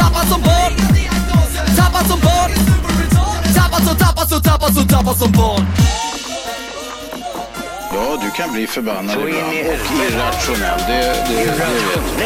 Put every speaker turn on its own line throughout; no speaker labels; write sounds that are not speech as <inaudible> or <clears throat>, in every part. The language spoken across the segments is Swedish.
Tappad som barn Tappad som barn Tappad som, tappad som, tappad som, tappad som barn
Ja, du kan bli förbannad
Så in i
ibland och
helvete.
irrationell. Det, det, det vet du.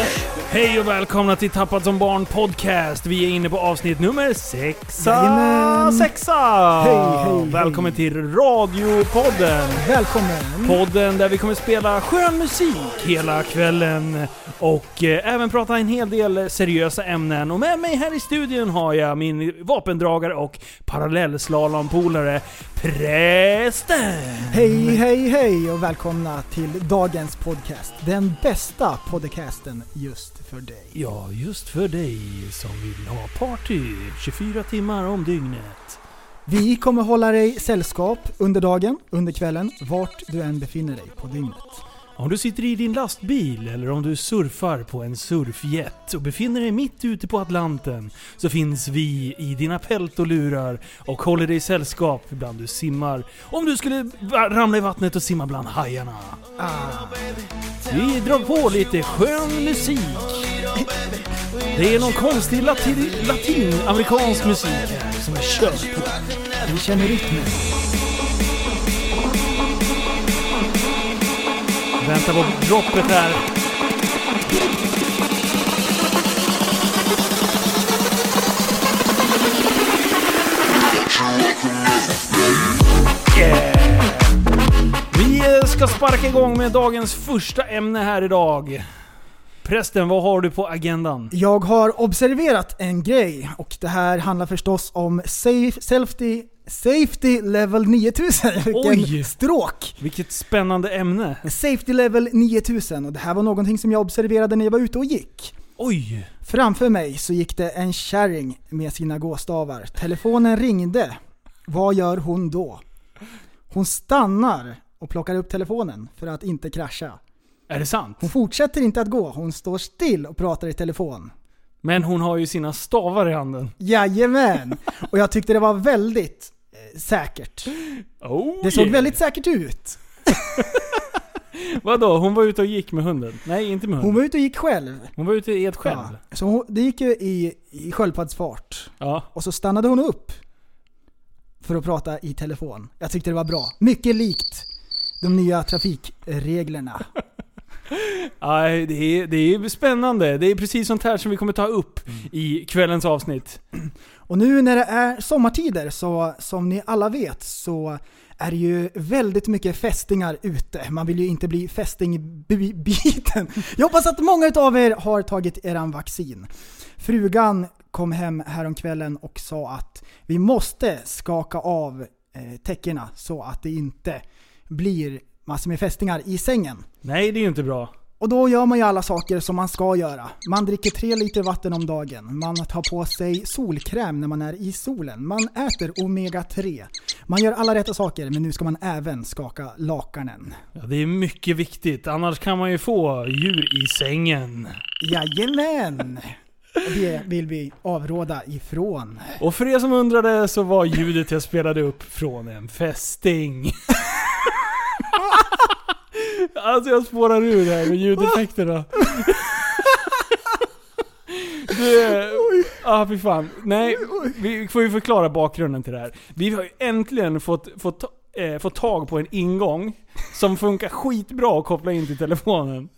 Hej och välkomna till Tappat som barn podcast. Vi är inne på avsnitt nummer sexa.
Jajamän.
Sexa!
Hej, hej, hej.
Välkommen till Radiopodden.
Välkommen!
Podden där vi kommer spela skön musik hela kvällen och eh, även prata en hel del seriösa ämnen. Och med mig här i studion har jag min vapendragare och parallellslalompolare Prästen.
Hej, hej, hej och välkomna till dagens podcast. Den bästa podcasten just för dig.
Ja, just för dig som vill ha party 24 timmar om dygnet.
Vi kommer hålla dig sällskap under dagen, under kvällen, vart du än befinner dig på dygnet.
Om du sitter i din lastbil eller om du surfar på en surfjet och befinner dig mitt ute på Atlanten så finns vi i dina pält och lurar och håller dig sällskap ibland du simmar. Om du skulle va- ramla i vattnet och simma bland hajarna. Vi drar på lite skön musik. Det är någon konstig latin, latinamerikansk musik här som är kört.
Vi känner rytmen.
Vänta på droppet här. Yeah! Vi eh, ska sparka igång med dagens första ämne här idag. Prästen, vad har du på agendan?
Jag har observerat en grej och det här handlar förstås om safe, safety, safety level 9000. Vilken
Oj.
stråk!
Vilket spännande ämne.
Safety level 9000 och det här var någonting som jag observerade när jag var ute och gick.
Oj!
Framför mig så gick det en kärring med sina gåstavar. Telefonen ringde. Vad gör hon då? Hon stannar och plockar upp telefonen för att inte krascha.
Är det sant?
Hon fortsätter inte att gå, hon står still och pratar i telefon.
Men hon har ju sina stavar i handen.
Jajamän! Och jag tyckte det var väldigt eh, säkert.
Oh,
Det såg
yeah.
väldigt säkert ut.
Vadå? Hon var ute och gick med hunden? Nej, inte med hunden.
Hon var ute och gick själv.
Hon var ute helt själv?
Ja. Så hon, det gick ju i, i sköldpaddsfart.
Ja.
Och så stannade hon upp för att prata i telefon. Jag tyckte det var bra. Mycket likt de nya trafikreglerna.
Aj, det, är, det är spännande. Det är precis sånt här som vi kommer ta upp i kvällens avsnitt.
Och nu när det är sommartider så, som ni alla vet, så är det ju väldigt mycket fästingar ute. Man vill ju inte bli fästingbiten. Jag hoppas att många utav er har tagit eran vaccin. Frugan kom hem häromkvällen och sa att vi måste skaka av eh, täckena så att det inte blir massor med fästingar i sängen.
Nej, det är ju inte bra.
Och då gör man ju alla saker som man ska göra. Man dricker tre liter vatten om dagen. Man tar på sig solkräm när man är i solen. Man äter omega-3. Man gör alla rätta saker, men nu ska man även skaka lakanen.
Ja, det är mycket viktigt. Annars kan man ju få djur i sängen.
Jajamän! Det vill vi avråda ifrån.
Och för er som undrade så var ljudet jag spelade upp från en fästing. Alltså jag spårar ur här med ljudeffekterna. Det, ah, fy fan. Nej, vi får ju förklara bakgrunden till det här. Vi har ju äntligen fått, fått, ta- eh, fått tag på en ingång som funkar skitbra att koppla in till telefonen.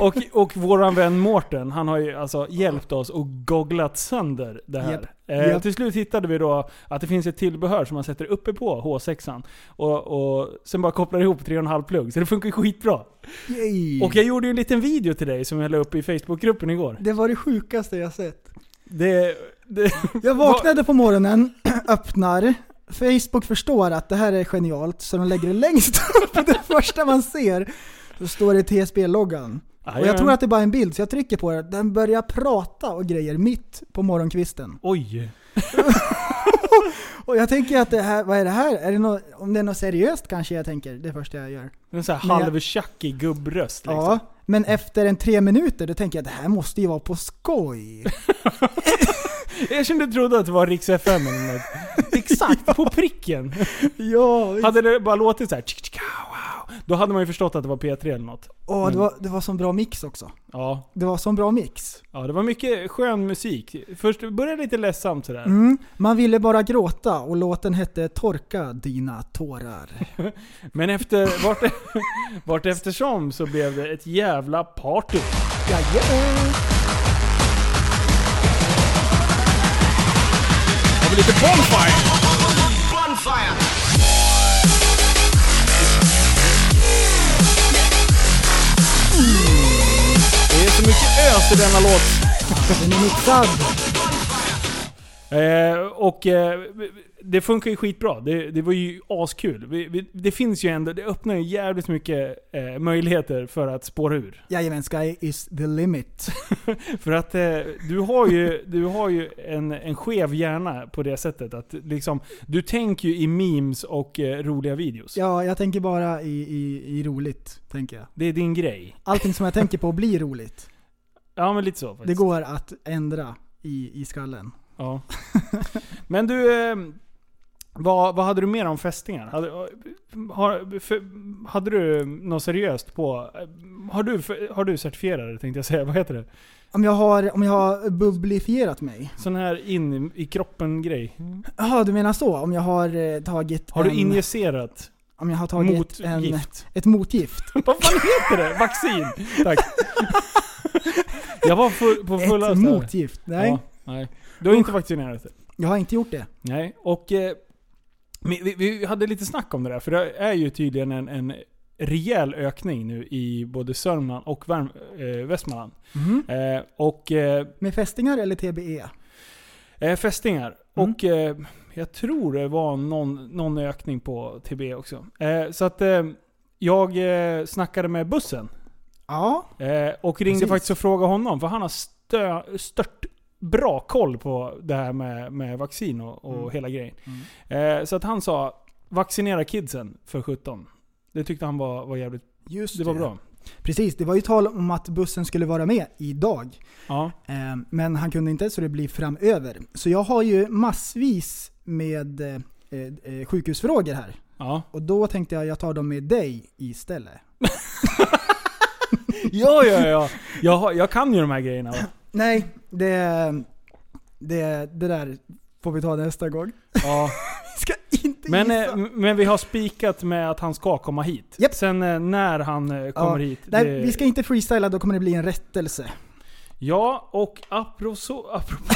Och, och våran vän Mårten, han har ju alltså hjälpt oss och googlat sönder det här.
Japp,
Eh,
japp.
Till slut hittade vi då att det finns ett tillbehör som man sätter uppe på H6an. Och, och sen bara kopplar ihop 3,5 plugg. Så det funkar ju skitbra.
Yay.
Och jag gjorde ju en liten video till dig som jag la upp i Facebookgruppen igår.
Det var det sjukaste jag sett.
Det, det,
Jag vaknade på morgonen, <clears throat> öppnar. Facebook förstår att det här är <laughs> genialt, så de lägger det längst upp. Det första man ser, så står det TSB-loggan. Och jag tror att det bara är en bild, så jag trycker på det. Den börjar prata och grejer mitt på morgonkvisten.
Oj!
Och jag tänker att det här, vad är det här? Är det nå- om det är något seriöst kanske jag tänker, det första jag gör.
En sån här
Men jag-
halvtjackig gubbröst liksom.
Ja, men efter en tre minuter då tänker jag att det här måste ju vara på <laughs> skoj.
Jag kände trodde att det var Rix FM eller något. Exakt, på pricken.
ja,
Hade det bara låtit så här, tsk, tsk, wow, wow, då hade man ju förstått att det var P3 eller något.
och det var, det var sån bra mix också.
Ja,
Det var sån bra mix.
ja det var mycket skön musik. Först började lite ledsamt sådär.
Mm, man ville bara gråta och låten hette Torka dina tårar.
Men efter, vart, <laughs> vart eftersom så blev det ett jävla party.
Har vi lite bonfire? Mm. Det är så mycket ös i denna låt.
Den är mixad.
Eh, och eh, det funkar ju skitbra. Det, det var ju askul. Vi, vi, det finns ju ändå, det öppnar ju jävligt mycket eh, möjligheter för att spåra ur. <laughs>
Jajamän, sky is the limit.
För att eh, du har ju, du har ju en, en skev hjärna på det sättet att liksom, du tänker ju i memes och eh, roliga videos.
Ja, jag tänker bara i, i, i roligt, tänker jag.
Det är din grej.
Allting som jag tänker på blir roligt.
Ja men lite så faktiskt.
Det går att ändra i, i skallen.
Ja. <laughs> Men du, eh, vad, vad hade du mer om fästingar? Hade, eh, har, för, hade du något seriöst på... eh, Har du, har du certifierade tänkte jag säga, <laughs> vad heter det?
Om jag har, om jag har bubblifierat mig?
Sån här in i kroppen grej.
Jaha, du menar så? Om jag har eh, tagit
Har du
en,
injicerat
Om jag har tagit en,
motgift?
ett motgift?
<laughs> Vad fan heter det? Vaccin?
<laughs>
Tack. Jag var full, på fulla
ett motgift? Nej,
Ja, nej. Du har inte vaccinerat dig?
jag har inte gjort det.
Nej, och eh, men vi, vi hade lite snack om det där, för det är ju tydligen en, en rejäl ökning nu i både Sörmland och Värm, eh, Västmanland.
Mhm.
Eh, och eh,
Med fästingar eller E? TBE?
eh, fästingar.
Mm.
Och eh, jag tror det var någon, någon ökning på TB också. Eh, så att eh, jag eh, snackade med bussen
Ja,
eh, och ringde
Precis.
faktiskt och frågade honom, för han har stö, stört bra koll på det här med, med vaccin och, och
Mm.
hela grejen. Eh, så att han sa, vaccinera kidsen för 17. Det tyckte han var, var jävligt
just
det var bra.
Precis, det var ju tal om att bussen skulle vara med idag.
Ja.
Eh, Men han kunde inte så det blir framöver. Så jag har ju massvis med eh, eh, sjukhusfrågor här.
Ja.
Och då tänkte jag jag tar dem med dig istället.
<laughs>
<laughs>
ja, ja, ja. <laughs> Jag, har- jag kan ju de här
<laughs>
grejerna. va?
Nej, det, det, det där får vi ta nästa gång. <laughs>
Ja.
Vi ska inte
Men,
gissa.
eh, m- men vi har spikat med att han ska komma hit.
Japp.
Sen eh, när han eh, kommer
Ja,
hit.
Nej,
det-
vi ska inte freestyla, då kommer det bli en rättelse.
Ja, och apropå, <laughs> så- apropå,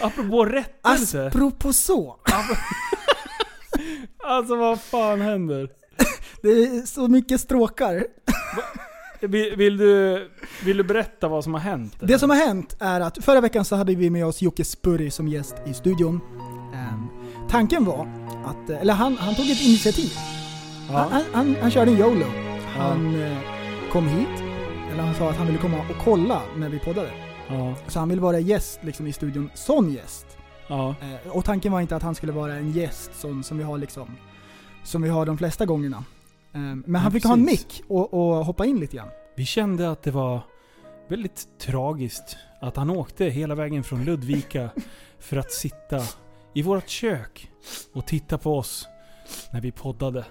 apropå rättelse.
Alltså, Apropå så.
Alltså vad fan händer?
Det är så mycket stråkar.
Vill, vill, du, vill du berätta vad som har hänt?
Det som har hänt är att förra veckan så hade vi med oss Jocke Spurri som gäst i studion. Ehm, tanken var att, eh, eller han, han tog ett initiativ. Han,
Ja.
han, han, han körde en YOLO. Han eh, kom hit, eller han sa att han ville komma och kolla när vi poddade.
Ja.
Så han ville vara gäst liksom, i studion, sån gäst.
Ja.
Eh, och tanken var inte att han skulle vara en gäst sån som vi har liksom, som vi har de flesta gångerna. Eh, men han
Ja,
fick ha en
precis.
mick och, och hoppa in lite grann.
Vi kände att det var väldigt tragiskt att han åkte hela vägen från Ludvika för att sitta i vårt kök och titta på oss när vi poddade.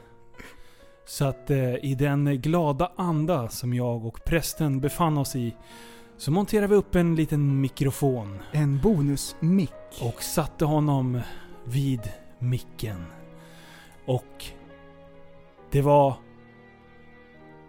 Så att eh, i den glada anda som jag och prästen befann oss i så monterade vi upp en liten mikrofon
En bonusmick.
och satte honom vid micken. Och det var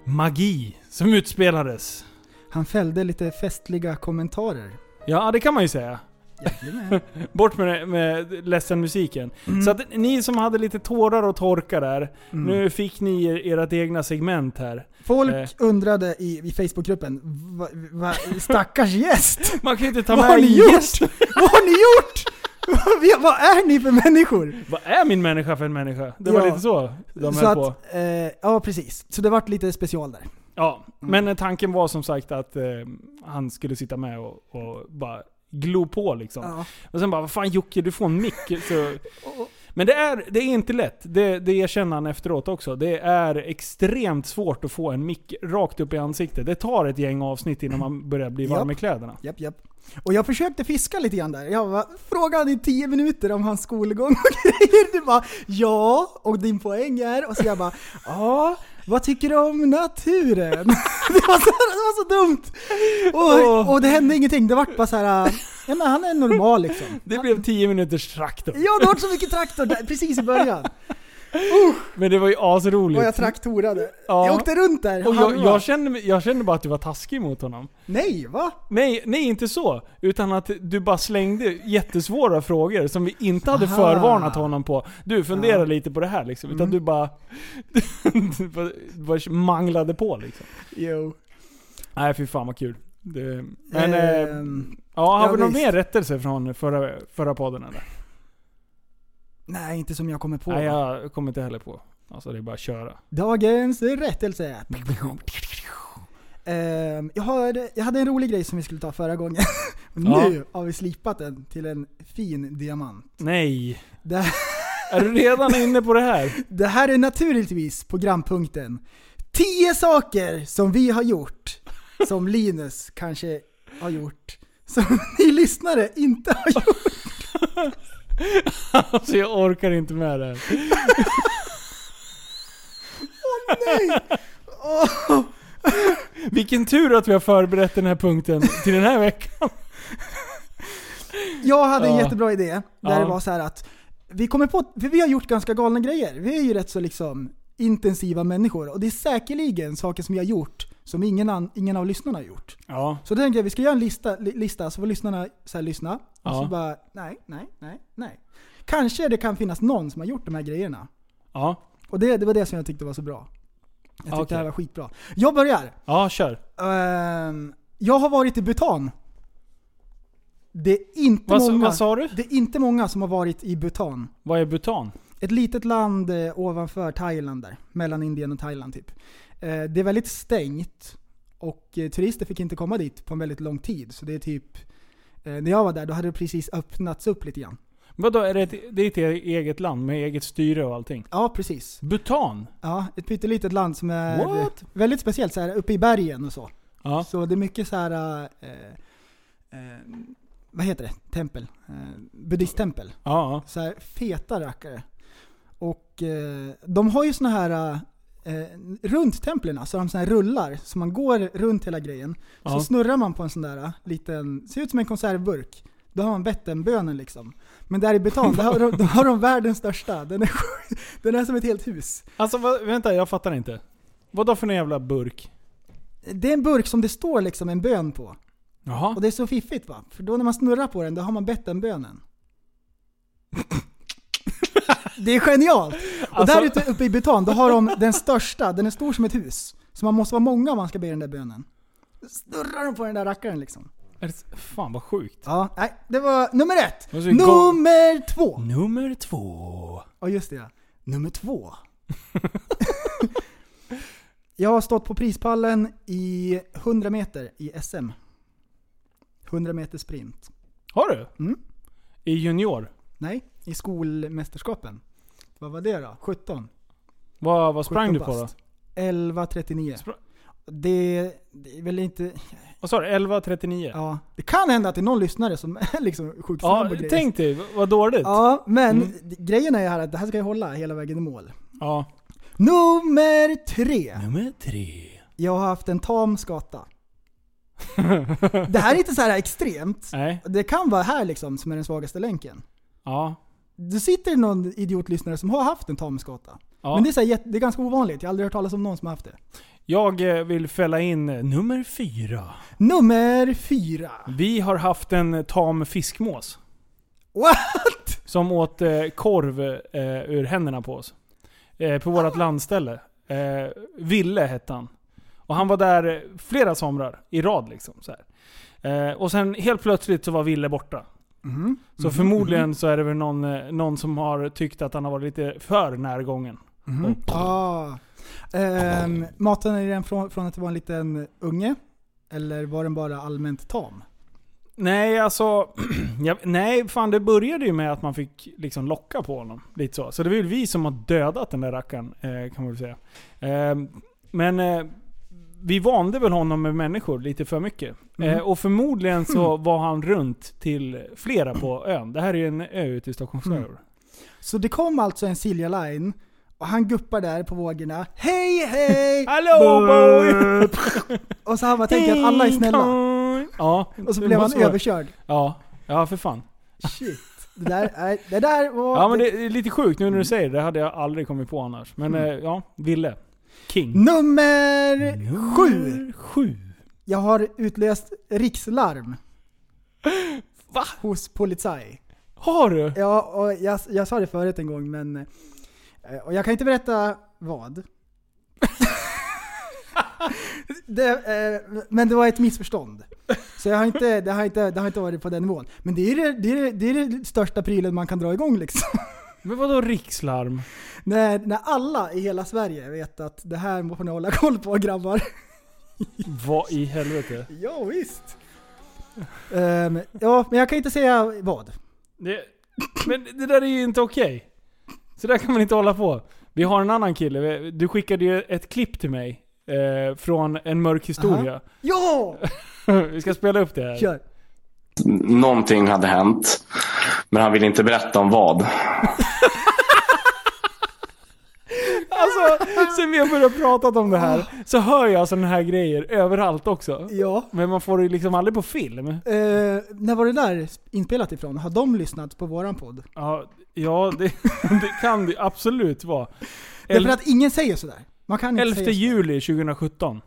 magi som utspelades.
Han fällde lite festliga kommentarer.
Ja, det kan man ju säga. <laughs>
Jajamän.
Bort med, det- med ledsen musiken. Mm. Så att ni som hade lite tårar och torka där,
Mm.
nu fick ni er, ert egna segment här.
Folk
Eh.
undrade i, i Facebookgruppen, va, va, stackars
<laughs>
gäst!
Man kan ju inte ta
Vad
med
har ni
en
gjort?
gäst.
<laughs> Vad har ni gjort? <laughs> Vi- Vad är ni för människor?
Vad är min människa för en människa? Det var
Ja.
lite så de
så
höll på.
att, eh, ja precis. Så det vart lite special där.
Ja, men eh, tanken var som sagt att eh, han skulle sitta med och, och bara glo på liksom.
Ja.
Och sen bara, vad fan Jocke, du får en
<laughs>
mick. Så...
Och-
Men det är, det är inte lätt, det, det erkänner han efteråt också. Det är extremt svårt att få en mick rakt upp i ansiktet. Det tar ett gäng avsnitt innan man börjar bli varm i
Japp.
kläderna.
Japp, japp. Och jag försökte fiska lite grann där. Jag bara, frågade i tio minuter om hans skolgång och <laughs> grejer. Du bara ja, och din poäng är... Och så jag bara ja, vad tycker du om naturen? <laughs> Det var så, det var så dumt! Och, och det hände ingenting. Det vart bara så här, ja men han är normal liksom.
Det blev 10 minuters traktor.
Ja, det vart så mycket traktor där, precis i början.
Men det var ju asroligt.
Och jag traktorade.
Ja.
Jag åkte runt där.
Och
Han
jag,
bara,
jag, kände, mig- jag kände bara att du var taskig mot honom.
Nej, va?
Nej, nej inte så. Utan att du bara slängde jättesvåra frågor som vi inte hade
Aha.
förvarnat honom på. Du, fundera
Ja. Mm.
lite på det här liksom. Utan du bara... <laughs> du bara- du bara manglade på liksom.
Jo.
Nej fy fan vad kul. Det, men, eh,
Ehm,
ja, har
ja,
vi någon
visst.
mer rättelse från förra, förra podden eller?
nej, inte som jag kommer på.
Nej jag kommer inte heller på. Alltså det är bara att köra.
Dagens rättelse. Ehm, jag, har, jag hade en rolig grej som vi skulle ta förra gången. <laughs> nu
Ja.
har vi slipat den till en fin diamant.
Nej.
Det,
Är du redan inne på det här?
det här är naturligtvis programpunkten. 10 saker som vi har gjort, som Linus kanske har gjort, som ni lyssnare inte har gjort.
Alltså jag orkar inte med det här.
Nej! Åh.
Vilken tur att vi har förberett den här punkten till den här veckan.
Jag hade en
Ja.
jättebra idé där
Ja.
det var så här att vi kommer på, för vi har gjort ganska galna grejer. Vi är ju rätt så liksom intensiva människor och det är säkerligen saker som vi har gjort som ingen, an, ingen av lyssnarna har gjort.
Ja.
Så då tänkte jag vi ska göra en lista, li, lista så får lyssnarna så här lyssna och så
Ja.
bara nej, nej, nej, nej. Kanske det kan finnas någon som har gjort de här grejerna.
Ja.
Och det, det var det som jag tyckte var så bra. Jag tyckte
Okej.
det här var skitbra. Jag börjar.
Ja, kör.
Ehm, jag har varit i Bhutan. Det är inte
Vad, sa-
många...
vad sa du?
Det är inte många som har varit i Bhutan.
Vad är Bhutan?
Ett litet land eh, ovanför Thailand där. Mellan Indien och Thailand typ. Eh, det är väldigt stängt. Och eh, turister fick inte komma dit på en väldigt lång tid. Så det är typ... Eh, när jag var där, då hade det precis öppnats upp lite grann.
Vadå, är det, ett, det är ett e- eget land med eget styre och allting?
Ja, precis.
Bhutan?
Ja, ett pyttelitet land som är
What?
väldigt speciellt. Så här, uppe i bergen och så.
Ja.
Så det är mycket så här... Eh, eh, vad heter det? Tempel. Eh, buddhisttempel.
Ja.
så här feta rackare. Och eh, de har ju såna här, eh, runt templen så har de såna här rullar. Så man går runt hela grejen. Så
ja.
snurrar man på en sån där eh, liten, ser ut som en konservburk. Då har man Vätternbönen liksom. Men där i Bhutan, där har de, då har de världens största. Den är, sj- den är som ett helt hus.
Alltså vad, vänta, jag fattar inte. Vadå för en jävla burk?
Det är en burk som det står liksom en bön på.
Jaha.
Och det är så fiffigt va? För då när man snurrar på den, då har man Vätternbönen. <laughs> Det är genialt! Och
Alltså-
där ute uppe i Bhutan, då har de den största, den är stor som ett hus. Så man måste vara många om man ska be den där bönen. Snurrar de på den där rackaren liksom.
Är det, fan vad sjukt.
Ja, nej, det var nummer ett.
Och så gå-
Nummer två!
Nummer två.
Ja, just det.
<laughs>
Nummer två. jag har stått på prispallen i 100 meter i SM. 100 meter sprint.
Har du?
Mm.
I junior?
Nej, i skolmästerskapen. Vad var det då? 17?
Vad, vad sprang
17
du på då?
bast. 11.39.
Spra-
Det, det är väl inte...
Vad sa du? 11.39? Ja,
Ja, det kan hända att det är någon lyssnare som är <laughs> liksom sjukt snabb på grejer.
tänk dig. v- Vad dåligt.
Ja, men
Mm.
d- grejen är ju här att det här ska jag hålla hela vägen i mål.
Ja.
Nummer tre.
Nummer tre.
Jag har haft en tam skata. <laughs> Det här är inte så här extremt.
Nej.
Det kan vara här liksom som är den svagaste länken.
Ja.
Det sitter någon idiotlyssnare som har haft en tam skata.
ja.
Men det är, så här, jätte- det är ganska ovanligt. Jag har aldrig hört talas om någon som har haft det.
Jag eh, vill fälla in eh, nummer fyra.
Nummer fyra.
Vi har haft en eh, tam fiskmås.
What?
Som åt eh, korv eh, ur händerna på oss. Eh, på
Ah.
vårt landställe. Eh, Ville hette han. Och han var där eh, flera somrar i rad liksom. Så här. Eh, och sen helt plötsligt så var Ville borta. Mm.
Mhm,
Så förmodligen så är det väl någon, eh, någon som har tyckt att han har varit lite för närgången.
Mhm. Ah. Ehm, maten är den från, från att det var en liten unge? Eller var den bara allmänt tam?
Nej, alltså... <clears throat> Jag, nej, fan det började ju med att man fick liksom locka på honom. Lite så. Så det är väl vi som har dödat den där rackaren, eh, kan man väl säga. Eh, men eh, vi vande väl honom med människor lite för mycket.
Mhm.
Eh, och förmodligen
Mm.
så var han runt till flera på ön. Det här är ju en ö ute i Stockholms
Mm.
skärgård.
Så det kom alltså en Silja Line och han guppar där på vågorna. Hej hej!
Hallå boy!
och så har man tänkt att alla är snälla.
Hej, Ja,
Och så
det
blev han
måste vara-
överkörd.
Ja, ja för fan.
Shit. Det där, är, det där var...
Ja men det är lite sjukt nu när du säger det. Det hade jag aldrig kommit på annars. Men eh, ja, Ville. King.
Nummer sju!
Sju.
Jag har utlöst rikslarm.
Va?
Hos Polizei.
Har du?
Ja, och jag, jag sa det förut en gång men... eh, Och jag kan inte berätta vad. <laughs> det, eh, men det var ett missförstånd. Så jag har inte, det, har inte, det har inte varit på den nivån. Men det är det, det, är det, det, är det största prylen man kan dra igång liksom. <laughs>
Men vadå rikslarm?
när, när alla i hela Sverige vet att det här får ni hålla koll på grabbar.
Vad i helvete?
ja, visst. Ehm, ja, men jag kan inte säga vad.
Det, men det där är ju inte okej. Så där kan man inte hålla på. Vi har en annan kille. Vi- Du skickade ju ett klipp till mig. Eh, från en mörk historia.
Ja!
<laughs> Vi ska spela upp det här.
Kör.
Någonting hade hänt. Men han ville inte berätta om vad.
Alltså, sen vi har börjat prata om det här så hör jag sådana här grejer överallt också.
Ja.
Men man får det ju liksom aldrig på film.
Eh, när var det där inspelat ifrån? Har de lyssnat på våran podd?
Ja, ja det, <laughs> det kan det absolut vara.
Därför att ingen säger sådär. Man kan inte
11
säga
juli 2017.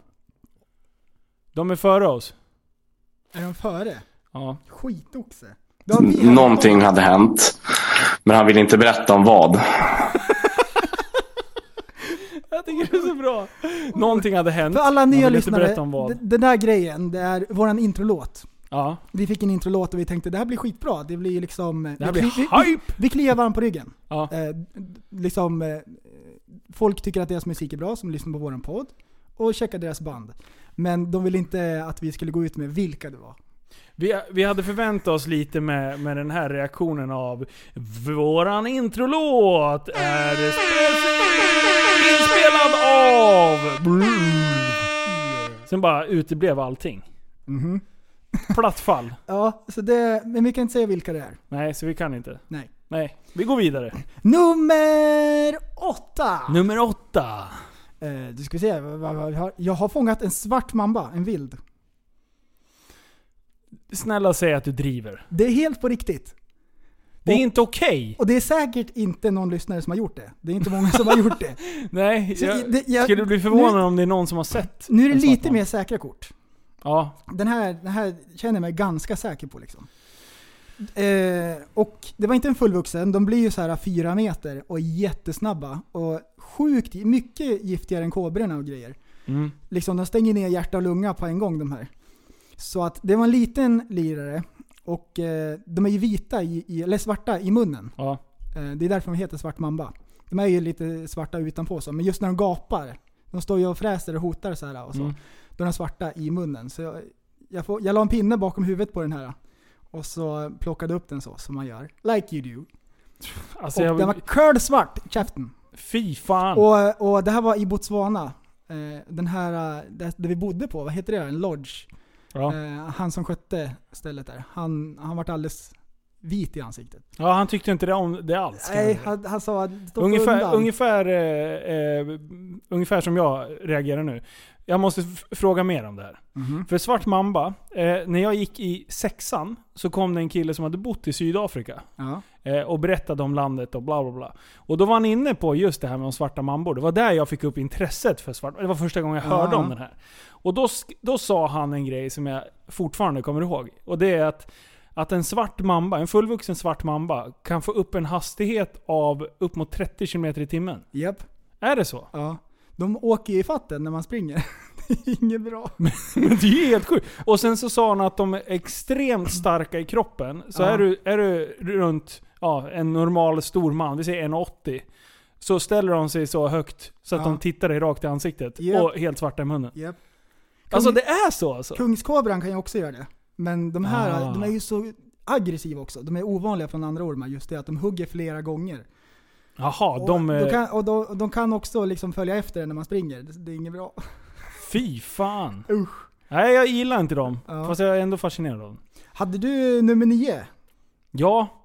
De är före oss.
sådär. Är de före?
Ja.
Skitoxe. Då har vi haft
Någonting
dem.
hade hänt. Men han ville inte berätta om vad.
Jag tycker det är så bra. Någonting hade hänt.
För alla
Man
nya
vill inte
lyssnare,
berätta om vad.
d- den där grejen, det är våran introlåt.
Ja.
Vi fick en introlåt och vi tänkte det här blir skitbra. Det blir ju liksom... eh,
Det här
vi,
blir
vi, vi,
hype!
vi kliar varandra på ryggen.
Ja.
Eh, d- d- liksom, eh, folk tycker att deras musik är bra som lyssnar på våran podd och checkar deras band. Men de ville inte att vi skulle gå ut med vilka det var.
Vi, vi hade förväntat oss lite med, med den här reaktionen av Våran introlåt är speciellt inspelad av... Sen bara uteblev allting. Platt fall.
Ja, så det, men vi kan inte säga vilka det är.
Nej, så vi kan inte.
Nej.
Nej, vi går vidare.
Nummer åtta!
Nummer åtta.
eh, du ska vi se, vad- vad- vad jag har- jag har fångat en svart mamba, en vild.
Snälla säg att du driver.
Det är helt på riktigt.
Det är
Och-
inte okej.
Och det är säkert inte någon lyssnare som har gjort det. Det är inte många som har gjort det.
Nej,
Så
jag,
det- jag-
skulle bli förvånad om det är någon som har sett.
Nu är det
en svart
lite
man.
mer säkra kort.
Ja,
Den här, den här känner jag mig ganska säker på liksom. Eh, och det var inte en fullvuxen, de blir ju så här fyra meter och är jättesnabba och sjukt, mycket giftigare än kobrorna och grejer.
Mm.
Liksom de stänger ner hjärta och lunga på en gång de här. Så att det var en liten lirare och eh, de är ju vita, i, i, eller svarta i munnen.
ja.
Eh, det är därför de heter svart mamba. De är ju lite svarta utanpå så, men just när de gapar, de står ju och fräser och hotar så här och så.
Mm.
Då är de svarta i munnen. Så jag, jag, får, jag la en pinne bakom huvudet på den här. Och så plockade upp den så, som man gör. Like you do.
Alltså
Och
jag,
den var curl svart i käften.
Fy fan.
Och, och det här var i Botswana. Eh, Den här, eh, där, där vi bodde på, vad heter det? En lodge.
ja.
Eh, Han som skötte stället där. Han, han vart alldeles vit i ansiktet.
ja, han tyckte inte det om det alls. kan jag
Nej,
säga.
han, han sa att stå
Ungefär,
undan.
ungefär, eh, eh, ungefär som jag reagerar nu. Jag måste f- fråga mer om det här.
Mhm.
För Svart Mamba, eh, när jag gick i sexan så kom det en kille som hade bott i Sydafrika.
Ja.
Eh, och berättade om landet och bla bla bla. Och då var han inne på just det här med de svarta mambor. Det var där jag fick upp intresset för svarta Det var första gången jag hörde
Ja.
om den här. Och då, sk- då sa han en grej som jag fortfarande kommer ihåg. Och det är att, att en svart mamba, en fullvuxen svart mamba, kan få upp en hastighet av upp mot 30 km i timmen.
Japp.
Är det så?
Ja. De åker ju i fatten när man springer. <laughs> det är inget bra.
Men <laughs> det är ju helt sjukt. Och sen så sa han att de är extremt starka i kroppen. Så
Ja.
är, du, är du runt ja, en normal stor man, vi säger 1,80. så ställer de sig så högt så att
Ja.
de tittar dig rakt i ansiktet.
Japp.
Och helt svarta i munnen.
Japp.
Alltså det är så alltså?
Kungskobran kan ju också göra det. Men de här,
Ah.
de är ju så aggressiva också. De är ovanliga från andra ormar, just det att de hugger flera gånger.
Jaha,
Och
de...
de
eh,
kan, och de, de kan också liksom följa efter en när man springer. Det, det är inget bra.
Fy fan.
Usch.
Nej, jag gillar inte dem.
Ja.
Fast jag är ändå fascinerad av dem.
Hade du nummer nio?
Ja.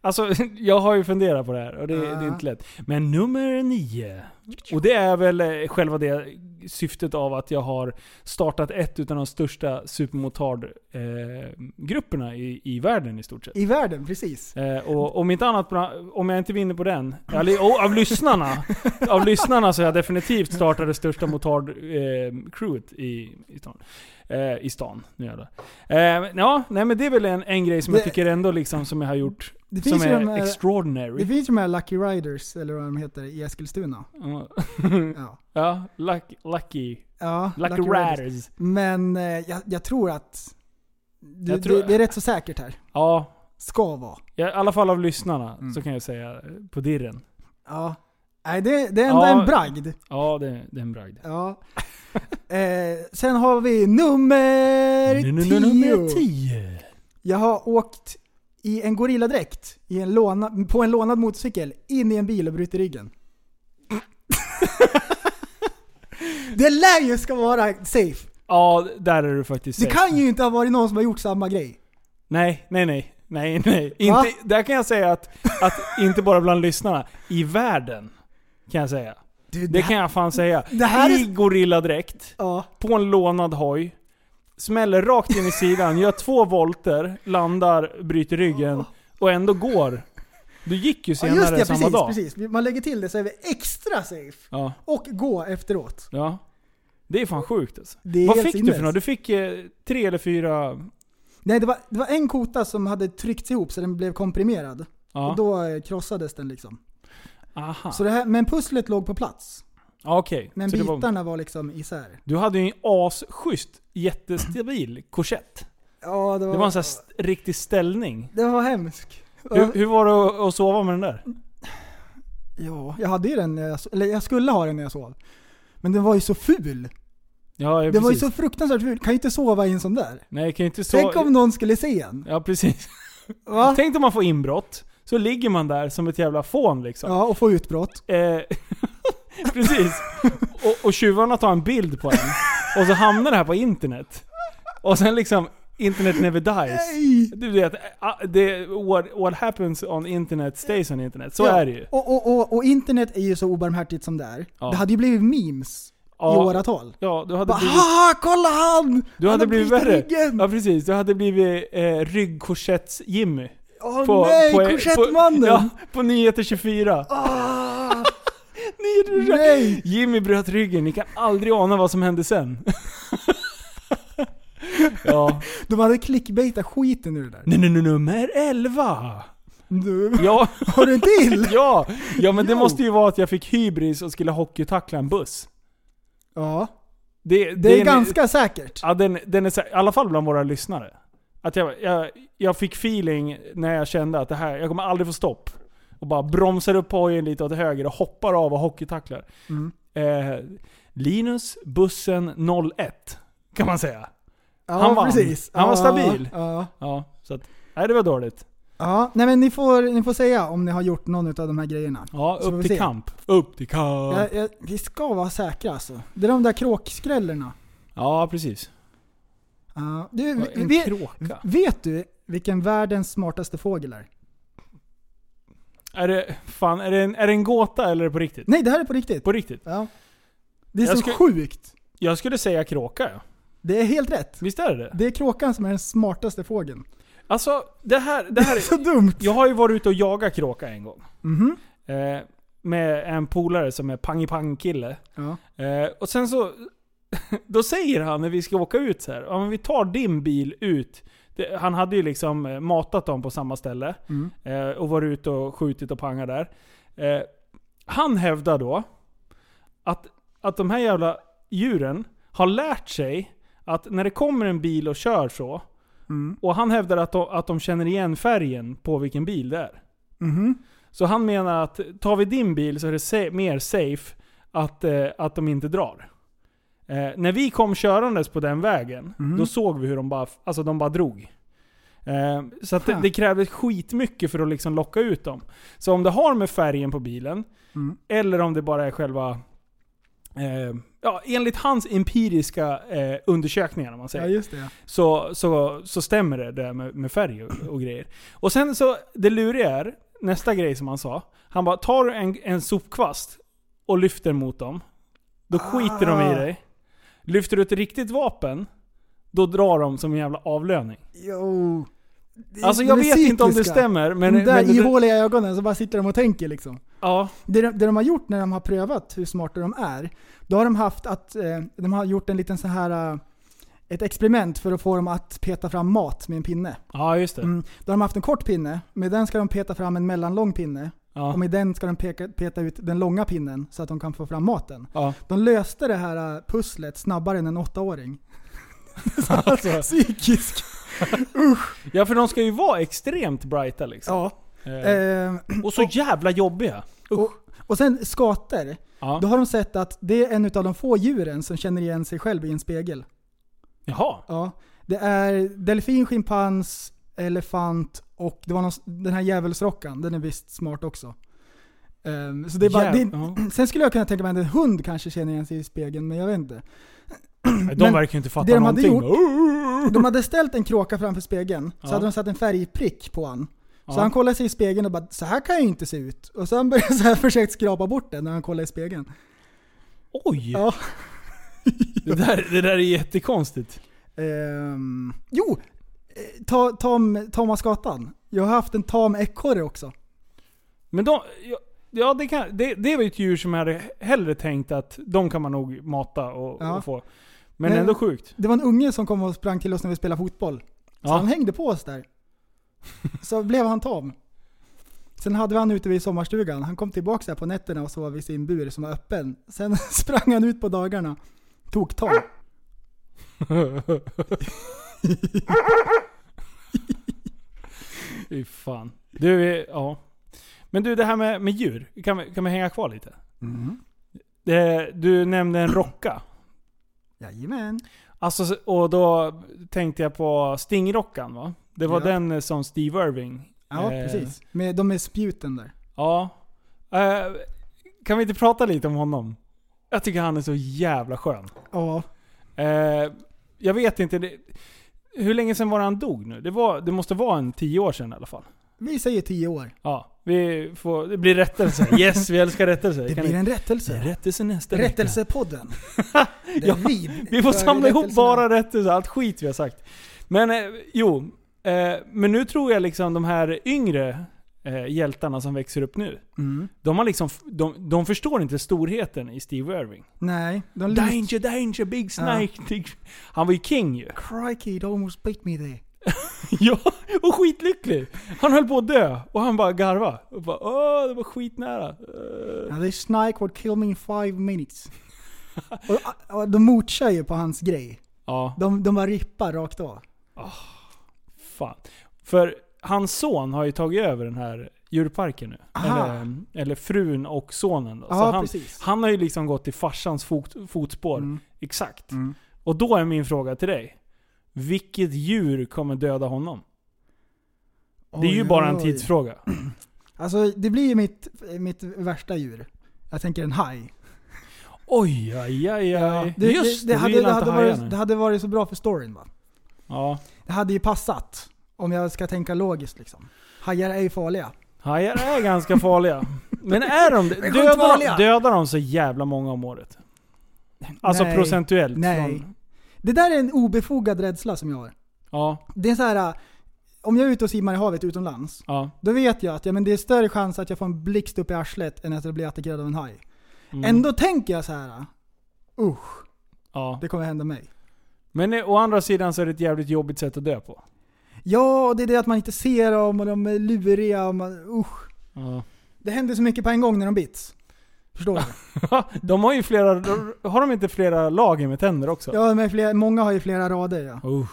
Alltså, <laughs> jag har ju funderat på det här och det,
Ja.
det är inte lätt. Men nummer nio. Och det är väl eh, själva det syftet av att jag har startat ett utav de största supermotard-grupperna i, i världen i stort sett.
I världen, precis.
Eh, och om inte annat, bra- om jag inte vinner på den, eller, och av lyssnarna, av lyssnarna så har jag definitivt startat det största motard-crewet i, i stan. Eh, I stan, nu jävlar. Eh, ja, nej men det är väl en, en grej som jag
Det-
tycker ändå liksom som jag har gjort,
Det finns
som
ju de
är
här-
extraordinary.
Det finns ju de här Lucky Riders, eller vad de heter, i Eskilstuna. Ja.
<laughs> ja, luck, lucky,
ja
Mm. lucky, riders.
Men eh, jag, jag tror att... Du,
Jag tror-
det, det är rätt så säkert här.
Ja,
Ska vara.
ja, i alla fall av lyssnarna
Mm.
så kan jag säga eh, på dirren.
Ja. Nej, det, det är ändå
Ja.
en bragd.
Ja, det, det är en bragd.
Ja. <laughs> eh, sen har vi nummer
Nu- nu- nu- Nummer
10.
tio.
Jag har åkt i en gorilladräkt i en låna, på en lånad motorcykel in i en bil och brutit ryggen. <laughs> det lär ju ska vara safe.
Ja, där är du faktiskt
Det
safe.
kan ju inte ha varit någon som har gjort samma grej.
Nej, nej, nej. Nej, nej.
Va?
Inte, där kan jag säga att, att inte bara bland lyssnarna, i världen kan jag säga.
Du,
Det kan jag fan säga.
det här
I gorilladräkt,
Ja.
på en lånad hoj, smäller rakt in i sidan, gör två volter, landar, bryter ryggen och ändå går. Du gick ju
Ja,
senare
just det,
samma
precis,
dag.
precis. Man lägger till det så är vi extra safe.
Ja,
Och gå efteråt.
ja. Det är fan sjukt alltså.
Det är
Vad
helt
fick du
sinnes.
för något? Du fick eh, tre eller fyra...
Nej, det var, det var en kota som hade tryckts ihop så den blev komprimerad.
Ja.
Och då eh, krossades den liksom.
Aha.
Så det här, men pusslet låg på plats.
Ja, Okej.
Men
Så det var-
bitarna var... liksom isär.
Du hade ju en asschysst, jättestabil korsett.
Ja, det var,
Det var en sån här st- riktig ställning.
det var hemskt.
Hur, hur var det att- att sova med den där?
Ja, jag hade ju den, när jag so- eller jag skulle ha den när jag sov. Men den var ju så ful.
Ja, ja
Den var ju
precis.
så fruktansvärt ful. Kan ju inte sova i en sån där.
Nej, jag kan ju inte
Tänk
sova...
om någon skulle se en.
Ja, precis.
Va?
Tänk om man får inbrott, så ligger man där som ett jävla fån liksom.
Ja, och få utbrott.
Eh, <laughs> precis. Och, och tjuvarna tar en bild på en. Och så hamnar det här på internet. Och sen liksom, internet never dies.
Nej!
Du vet, ah, det, what, what happens on internet stays on internet. Så
Ja,
är det ju.
Och, och, och, och internet är ju så obarmhärtigt som det är.
Ja.
Det hade ju blivit memes i
Ja,
åratal.
ja, du hade
Bara,
blivit
Haha, kolla han!
Du
han
hade
har
blivit
brutit
värre.
ryggen!
Ja precis, du hade blivit eh, ryggkorsetts-Jimmy.
Åh nej, korsettmannen!
På, <laughs> ja, på Nyheter 24.
Ah,
Nyheter 24.
nej!
Jimmy bröt ryggen, ni kan aldrig ana vad som hände sen. <laughs> ja.
De hade clickbaitat skiten ur det där.
Nu, nu, nu, nummer 11!
Du,
Ja,
har du en till?
ja, ja men det
Jo.
måste ju vara att jag fick hybris och skulle hockeytackla en buss.
Ja,
Det,
det är ganska säkert.
Ja, den, den är så, i alla fall bland våra lyssnare. Att jag, jag, jag fick feeling när jag kände att det här, jag kommer aldrig få stopp. Och bara bromsar upp hojen lite åt höger och hoppar av och hockeytacklar.
Mm.
Eh, Linus, bussen 01. Kan man säga.
Ja,
han vann.
precis.
Han var
ja,
stabil.
Ja.
Ja, så att, nej det var dåligt.
ja, nej men ni får, ni får säga om ni har gjort någon av de här grejerna.
Ja,
Så får
upp
vi
till
se.
kamp. Upp till kamp. Ja,
Jag, jag, vi ska vara säkra alltså. Det är de där kråkskrällerna.
precis.
Ja, du,
Och En
vet,
kråka.
vet du vilken världens smartaste fågel är?
Är det, fan, är det, en, är det en gåta eller är det på riktigt?
Nej, det här är på riktigt.
På riktigt.
Ja. Det är
Jag
så
skulle-
sjukt.
Jag skulle säga kråka ja.
Det är helt rätt.
Visst är det det?
Det är kråkan som är den smartaste fågeln.
Alltså, det här, det här är...
<laughs> Så dumt!
Jag har ju varit ute och jagat kråka en gång.
Mhm.
Eh, med en polare som är pang-pang-kille.
Ja.
Eh, och sen så... <laughs> Då säger han när vi ska åka ut så här, ja men vi tar din bil ut. Det, han hade ju liksom eh, matat dem på samma ställe.
Mm.
Eh, och varit ute och skjutit och pangat där. Eh, han hävdar då att, att de här jävla djuren har lärt sig att när det kommer en bil och kör så.
Mm.
Och han hävdar att de, att de känner igen färgen på vilken bil det är.
Mhm.
Så han menar att tar vi din bil så är det sa- mer safe att, eh, att de inte drar. Eh, när vi kom körandes på den vägen, då såg vi hur de bara, alltså de bara drog. Eh, så att det,
Huh.
det krävdes skitmycket för att liksom locka ut dem. Så om det har med färgen på bilen,
Mm.
eller om det bara är själva... Eh, ja, enligt hans empiriska eh, undersökningar, om man säger
Ja, just det.
så, så, så stämmer det där med, med färg och, och grejer. Och sen så, det luriga är, nästa grej som han sa. Han bara, tar du en, en sopkvast och lyfter mot dem, då skiter
Ah.
de i dig. Lyfter du ett riktigt vapen, då drar de som en jävla avlöning.
Jo. Det-
Alltså jag
det
vet inte om det
cykliska.
stämmer, men...
de där
men det-
ihåliga ögonen så bara sitter de och tänker liksom.
ja,
Det de, det de har gjort när de har prövat hur smarta de är, då har de haft att, eh, de har gjort en liten så här eh, ett experiment för att få dem att peta fram mat med en pinne.
ja, just det.
Mm. Då har de haft en kort pinne, med den ska de peta fram en mellanlång pinne
Ja,
och med den ska de peka, peta ut den långa pinnen så att de kan få fram maten.
ja.
De löste det här eh, pusslet snabbare än
<laughs>
en åttaåring. alltså. <laughs> Psykisk.
ja, för de ska ju vara extremt brighta liksom.
Ja.
Eh,
Eh,
och så jävla jobbiga.
och, och sen skater.
Ja.
Då har de sett att det är en av de få djuren som känner igen sig själv i en spegel.
Jaha.
Ja. Det är delfin, schimpans, elefant och det var någon, den här djävulsrockan. Den är visst smart också. Ehm, så det är bara, det
Jäv-
är,
ja.
sen skulle jag kunna tänka mig att en hund kanske känner igen sig i spegeln, men jag vet inte.
De
Men
verkar ju inte fatta
det de hade
någonting. Oh!
De hade ställt en kråka framför spegeln, så
Ja.
hade de satt en färgprick på han. Så
Ja.
han kollade sig i spegeln och bara så här kan jag ju inte se ut. Och så han började så här försökt skrapa bort den när han kollade i spegeln.
Oj!
Ja.
Det där, det där är jättekonstigt.
Ehm, jo! eh, Ta, tam, tama skatan. Jag har haft en tam ekorre också.
Men de... Ja, ja det, kan, det, det var ju ett djur som jag hade hellre tänkt att de kan man nog mata och,
Ja.
och få. Men
Men-
ändå sjukt.
Det var en unge som kom och sprang till oss när vi spelade fotboll. Så
Ja.
han hängde på oss där. Så blev han tam. Sen hade vi han ute vid sommarstugan. Han kom tillbaka där på nätterna och sov i sin bur som var öppen. Sen <laughs> sprang han ut på dagarna. Tog tam.
Fy fan. Du, eh, ja. Men du, det här med, med djur. Kan vi, kan vi hänga kvar lite? Mm. Det, du nämnde en rocka.
Jajamän.
Alltså, och då tänkte jag på stingrockan va? Det var
Ja.
den eh, som Steve Irving...
Ja,
eh,
precis. Med, de är spjuten där.
Ja. Eh, kan vi inte prata lite om honom? Jag tycker han är så jävla skön.
Ja.
Eh, jag vet inte. Det, hur länge sedan var det han dog nu? Det, var, det måste vara en tio år sedan i alla fall.
Vi säger 10 år.
Ja, vi får, det blir
<laughs>
rättelse. Yes, vi älskar rättelse.
Det blir en rättelse.
rättelse nästa vecka.
Rättelsepodden. Där
<laughs> Ja,
vi,
Vi får
för
samla ihop
rättelserna.
bara rättelse, allt skit vi har sagt. Men eh, jo, eh, men nu tror jag liksom de här yngre eh, hjältarna som växer upp nu.
Mm.
De, har liksom, f- de, de förstår inte storheten i Steve Irving.
Nej, de lik...
Danger, danger, big snake. Big... Han var ju king ju.
Crikey, it almost beat me there.
Ja, och skitlycklig. Han höll på att dö och han bara garva. Och bara, Åh, det var skitnära. Eh,
Now this snake would kill me in five minutes. <laughs> och, och de motsäger ju på hans grej.
Ja,
De, de bara rippar rakt av.
fan. För hans son har ju tagit över den här djurparken nu.
Aha.
Eller, eller frun och sonen då. Så
Ja,
han,
precis. Mm.
han har ju liksom gått i farsans fot, fotspår. Exakt. Och då är min fråga till dig. Vilket djur kommer döda honom? Det är ju
Oj,
bara en
oj.
tidsfråga.
Alltså det blir ju mitt, mitt värsta djur. Jag tänker en haj.
Oj, aj, aj, aj.
Det,
Just
det, det, hade, det, hade
varit,
varit, det hade varit så bra för storyn va?
Ja.
Det hade ju passat. Om jag ska tänka logiskt liksom. Hajar är ju farliga.
Hajar är ganska
<laughs>
farliga. Men är de det?
sjukt
Dödar,
farliga.
de- dödar de så jävla många om året? Alltså
Nej.
procentuellt?
Nej.
Från,
Det där är en obefogad rädsla som jag har.
ja,
Det är så här. äh, Om jag är ute och simmar i havet utomlands,
ja.
då vet jag att ja, men det är större chans att jag får en blixt upp i arslet än att jag blir attackerad av en haj.
Mm,
Ändå tänker jag så här. äh, Usch,
ja.
det kommer hända mig.
Men eh, å andra sidan så är det ett jävligt jobbigt sätt att dö på.
Ja, och det är det att man inte ser dem och de är luriga och man, usch.
Ja.
Det händer så mycket på en gång när de bits. Förstår
<laughs>
du?
de har ju flera... Har de inte flera lager med tänder också?
Ja, men flera, många har ju flera rader ja.
Usch.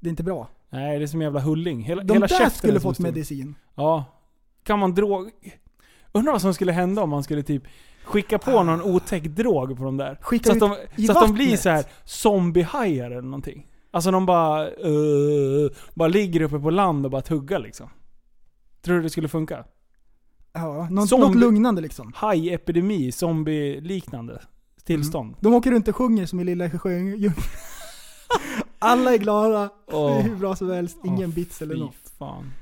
Det är inte bra.
Nej, det är som en jävla hulling. Hela,
De
hela
där
käften är
skulle
som
fått
en stor-
medicin.
Ja. Kan man drog... Undrar vad som skulle hända om man skulle typ skicka på någon otäck drog på dem där.
Ah. Skicka
Så att
ut
de,
i
så att de blir
vattnet.
så här zombiehajar eller någonting. Alltså de bara... eh, bara ligger uppe på land och bara tuggar liksom. Tror du det skulle funka?
Ja, något,
Zombie-
något lugnande liksom.
Hajepidemi, zombie-liknande tillstånd.
Mm. De åker runt och sjunger som i Lilla Sjöjungfrun. <laughs> Alla är glada,
Åh.
hur bra som helst, ingen
Åh,
bits eller
Fy
något.
fan.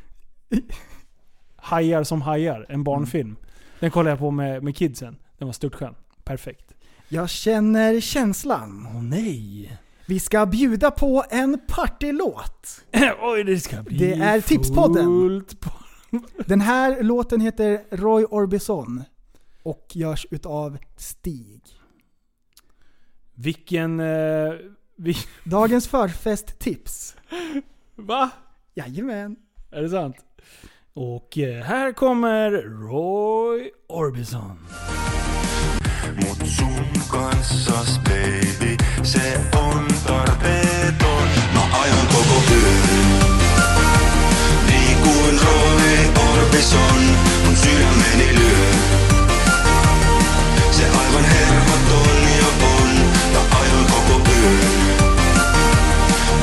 Hajar som hajar, en barnfilm. Den kollade jag på med, med kidsen. Den var störtskön. Perfekt.
Jag känner känslan.
Åh nej.
Vi ska bjuda på en partylåt.
<clears throat> Oj, det ska bli
Det är Tipspodden.
fullt på-
Den här låten heter Roy Orbison och görs utav Stig.
Vilken... Eh, vi,
Dagens förfesttips.
<laughs> va?
Jajamän.
Är det sant? Och eh, här kommer Roy Orbison.
mut sun kanssas, baby. Se on tarpeeton. Mä ajan koko yön. Niin kuin Roy Orbison, mun sydämeni lyö. Se aivan hermoton ja on. Mä ajan koko yön.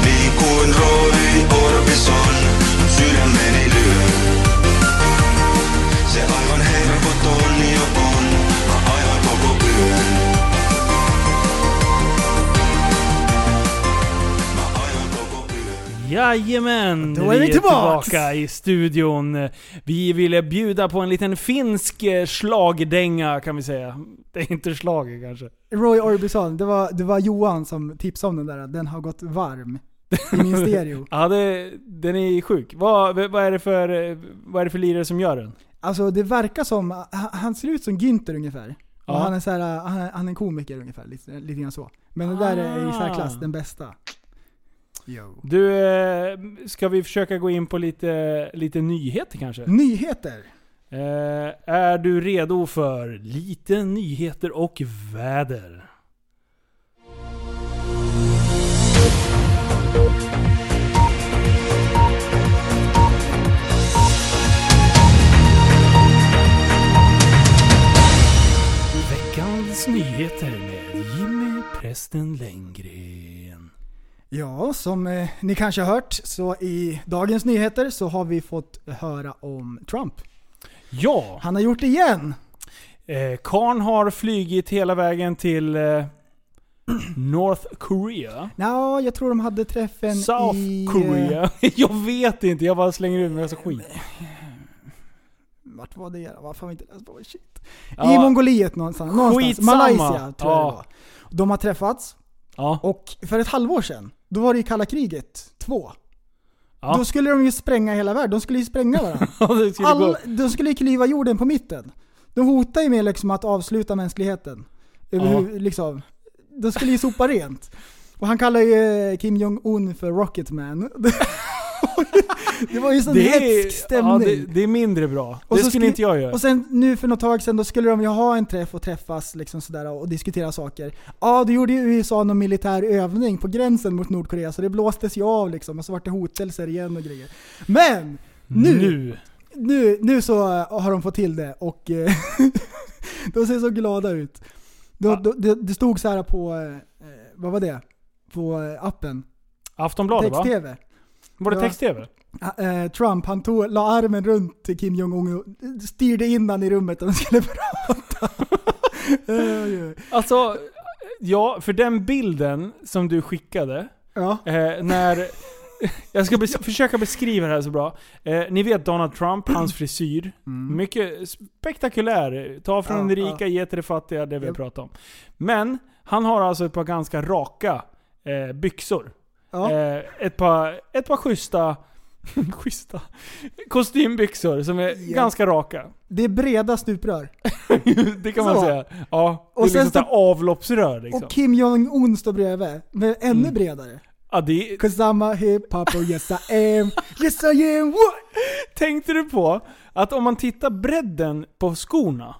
Niin kuin Roy Orbison, mun sydämeni lyö. Se aivan hermoton ja on. Mä ajan koko yön. Mä ajan koko yön.
Jajamän!
Då är vi tillbaks.
tillbaka i studion. Vi ville bjuda på en liten finsk eh, slagdänga kan vi säga. <laughs> Det är inte slager kanske.
Roy Orbison, det var, det var Johan som tipsade om den där. Den har gått varm i min stereo.
Ja, det, den är sjuk. Vad, vad, är det för, eh, vad är det för lirare som gör den?
Alltså det verkar som, han- han ser ut som Günther ungefär.
Ja.
Och han är, så här, äh, han, är- han är en komiker ungefär, lite, lite grann så. Men det där är i särklass
Ah.
den bästa. Yo.
Du, eh, ska vi försöka gå in på lite, lite nyheter kanske?
Nyheter!
Eh, är du redo för lite nyheter och väder? Veckans nyheter med Jimmy Prästen Lenngren.
Ja, som eh, ni kanske har hört så i dagens nyheter så har vi fått höra om Trump.
Ja,
Han har gjort det igen!
eh, Karn har flygit hela vägen till eh, <clears throat> North Korea.
Nja, jag tror de hade träffen
South
i... eh,
Korea. <laughs> jag vet inte, jag bara slänger ut mig massa skit.
Vart var det? Varför har vi inte läst på? Shit. I
Ja.
Mongoliet någonstans. någonstans.
Skitsamma.
Malaysia tror jag
Ja.
det var. De har träffats
Ja, <laughs>
och för ett halvår sedan, då var det ju kalla kriget 2.
Ja.
Då skulle de ju spränga hela världen. De skulle
<laughs>
ju spränga varandra.
det skulle gå.
All, de skulle ju klyva jorden på mitten. De hotar ju med liksom att avsluta mänskligheten. Över
Ja.
hur, liksom. De skulle ju sopa rent. Och han kallar ju eh, Kim Jong-Un för Rocketman. <laughs> det var ju sån
Det är,
hetsk stämning.
ja, det, det är mindre bra.
Och
det
så
skulle
skri-
inte jag göra.
Och sen nu för något tag sedan, då skulle de ju ha en träff och träffas liksom sådär och diskutera saker. Ja, då gjorde ju USA någon militär övning på gränsen mot Nordkorea, så det blåstes ju av liksom och så vart det hotelser igen och grejer. Men! Nu, nu.
nu.
nu, så eh, har de fått till det och eh, <laughs> de ser så glada ut. Då, då, det, det stod så här på, eh, vad var det? På eh, appen?
Aftonbladet va?
Text-tv.
Var det
Ja.
text-tv?
Eh, Trump, han tog, la armen runt till Kim Jong-Un och styrde in han i rummet och de skulle <laughs> prata. Oj, oj.
Alltså, ja, för den bilden som du skickade,
ja,
eh, när... <laughs> Jag ska bes- försöka beskriva det här så bra. Eh, ni vet Donald Trump,
<clears throat>
hans frisyr. Mycket spektakulär. Ta från
Mm. Ja,
de rika,
ja.
ge till de fattiga, det vi
Japp.
pratar om. Men, han har alltså ett par ganska raka eh, byxor.
ja.
Eh, ett, par, ett par schyssta, <laughs> schyssta kostymbyxor som är
Ja.
ganska raka. <laughs>
Det är breda stuprör.
det kan man
Så.
säga. Ja, det
Och
är
sen
liksom
så-
så... avloppsrör liksom.
Och Kim Jong-Un står bredvid, men ännu
Mm.
bredare.
Ja, det,
Cause I'm a hip hop och yes I am, yes I am, what?
tänkte du på att om man tittar bredden på skorna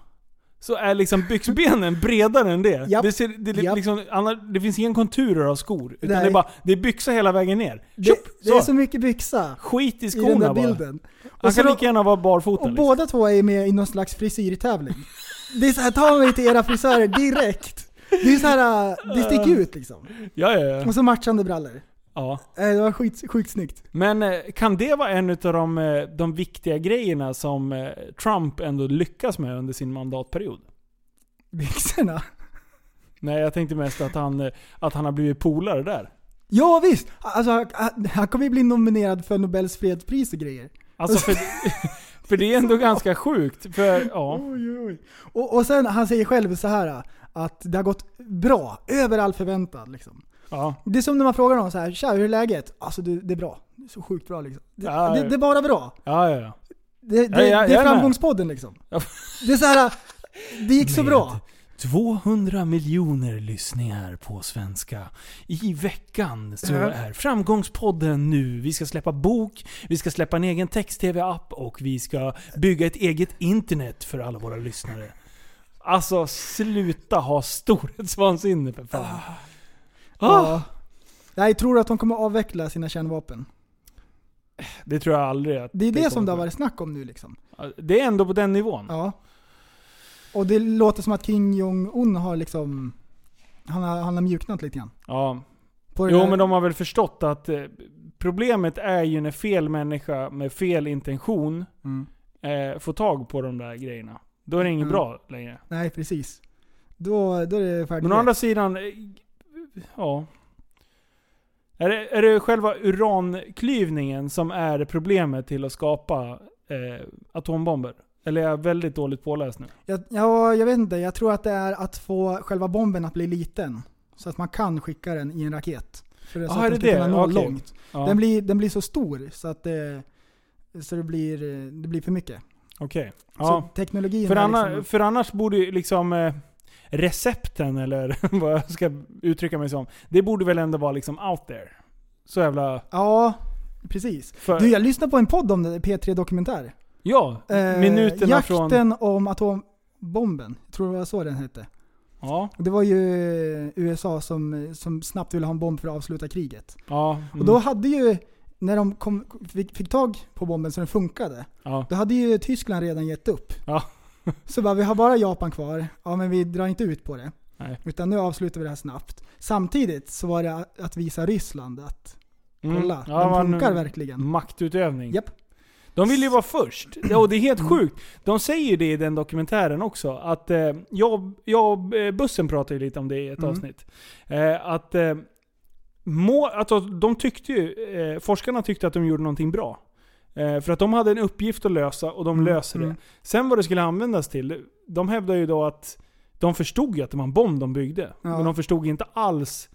så är
<laughs>
liksom byxbenen bredare än det.
Japp.
Det, ser, det, är
Japp.
liksom, annars, det finns ingen konturer av skor. Utan
Nej.
det är bara, det är byxa hela vägen ner.
Det,
Tjopp,
det är
så.
så mycket byxa
Skit i
i den
skorna
där
bara.
bilden.
Han
Och, så
kan
de,
lika gärna vara barfota.
och
liksom.
båda två är med i någon slags frisyrtävling. Det är så här, ta mig till era frisörer direkt. Det är så här, äh, det sticker ut liksom.
Ja, ja, ja.
Och så matchande brallor.
ja.
Eh, Det var skit, sjukt snyggt.
Men eh, kan det vara en av de, eh, de viktiga grejerna som eh, Trump ändå lyckas med under sin mandatperiod?
Byxorna.
Nej, jag tänkte mest att han, eh, att han har blivit polare där.
Ja visst! Alltså, han- han kommer ju bli nominerad för Nobels fredspris och grejer.
Alltså för, för <laughs> det är ändå ganska sjukt. För, ja.
Oj, oj. Och, och sen, han säger själv så här att det har gått bra, över all förväntan. Liksom.
ja.
Det är som när man frågar någon så här, tja hur är läget? Alltså du, det är bra. Det är så sjukt bra liksom. Det,
Ja,
det,
ja.
det är bara bra.
Ja, ja, ja.
Det,
Ja,
det,
ja,
det
jag
är
är med.
framgångspodden liksom.
Ja.
Det är så här, det gick så
Med.
bra.
200 miljoner lyssningar på svenska. I veckan så
Ja.
är Framgångspodden nu. Vi ska släppa bok, vi ska släppa en egen text-tv-app och vi ska bygga ett eget internet för alla våra lyssnare. Alltså sluta ha storhetsvansinne för fan. Ah,
Ja. Nej, tror du att de kommer avveckla sina kärnvapen?
det tror jag aldrig att
Det är det, som det har
kommer
varit snack om nu liksom.
ske. Det är ändå på den nivån.
Ja. Och det låter som att Kim Jong-Un har liksom, han har, han har mjuknat lite grann.
Ja.
På det
Jo
där-
men de har väl förstått att eh, problemet är ju när fel människa med fel intention
Mm.
eh, får tag på de där grejerna. Då är det inget
Mm.
bra längre.
Nej, precis. Då, då är det färdigt.
Men å andra sidan, eh, ja. Är det, är det själva uranklyvningen som är problemet till att skapa eh, atombomber? Eller är jag väldigt dåligt påläst nu?
jag, ja, jag vet inte. Jag tror att det är att få själva bomben att bli liten. Så att man kan skicka den i en raket. För det, så
Ah,
att
är
den
det
ska
det?
kunna nå
Okej.
långt.
Ja,
Den, blir, den blir så stor så att det, så det, blir, eh, det blir för mycket.
Okej.
Så
Ja.
teknologin
För,
är
anna,
liksom...
för annars borde ju liksom eh, recepten, eller <laughs> vad jag ska uttrycka mig som, det borde väl ändå vara liksom out there. Så jävla...
Ja, precis.
För,
Du, jag lyssnade på en podd om det, P3 Dokumentär.
ja, minuterna
Eh, jakten
från...
om atombomben. Jag tror det var så den hette.
Ja,
Det var ju eh, USA som, som snabbt ville ha en bomb för att avsluta kriget.
ja, mm,
Och då hade ju, när de kom, fick, fick tag på bomben så den funkade,
ja.
då hade ju Tyskland redan gett upp.
Ja.
<laughs> så bara, vi har bara Japan kvar. Ja men vi drar inte ut på det.
Nej.
Utan nu avslutar vi det här snabbt. Samtidigt så var det att- att visa Ryssland att
Mm.
kolla,
Ja,
de
man-
funkar verkligen.
Maktutövning.
Japp. Mm.
De vill ju vara först. Det- Och det är helt sjukt. De säger ju det i den dokumentären också. Att eh, jag, jag, eh, bussen pratade ju lite om det i ett
Mm.
avsnitt. Eh, att eh, må, alltså, de tyckte ju, eh, forskarna tyckte att de gjorde någonting bra. Eh, för att de hade en uppgift att lösa och de löser det.
mm.
Sen vad det skulle användas till, de hävdar ju då att de förstod ju att det var en bomb de byggde. Men de förstod inte alls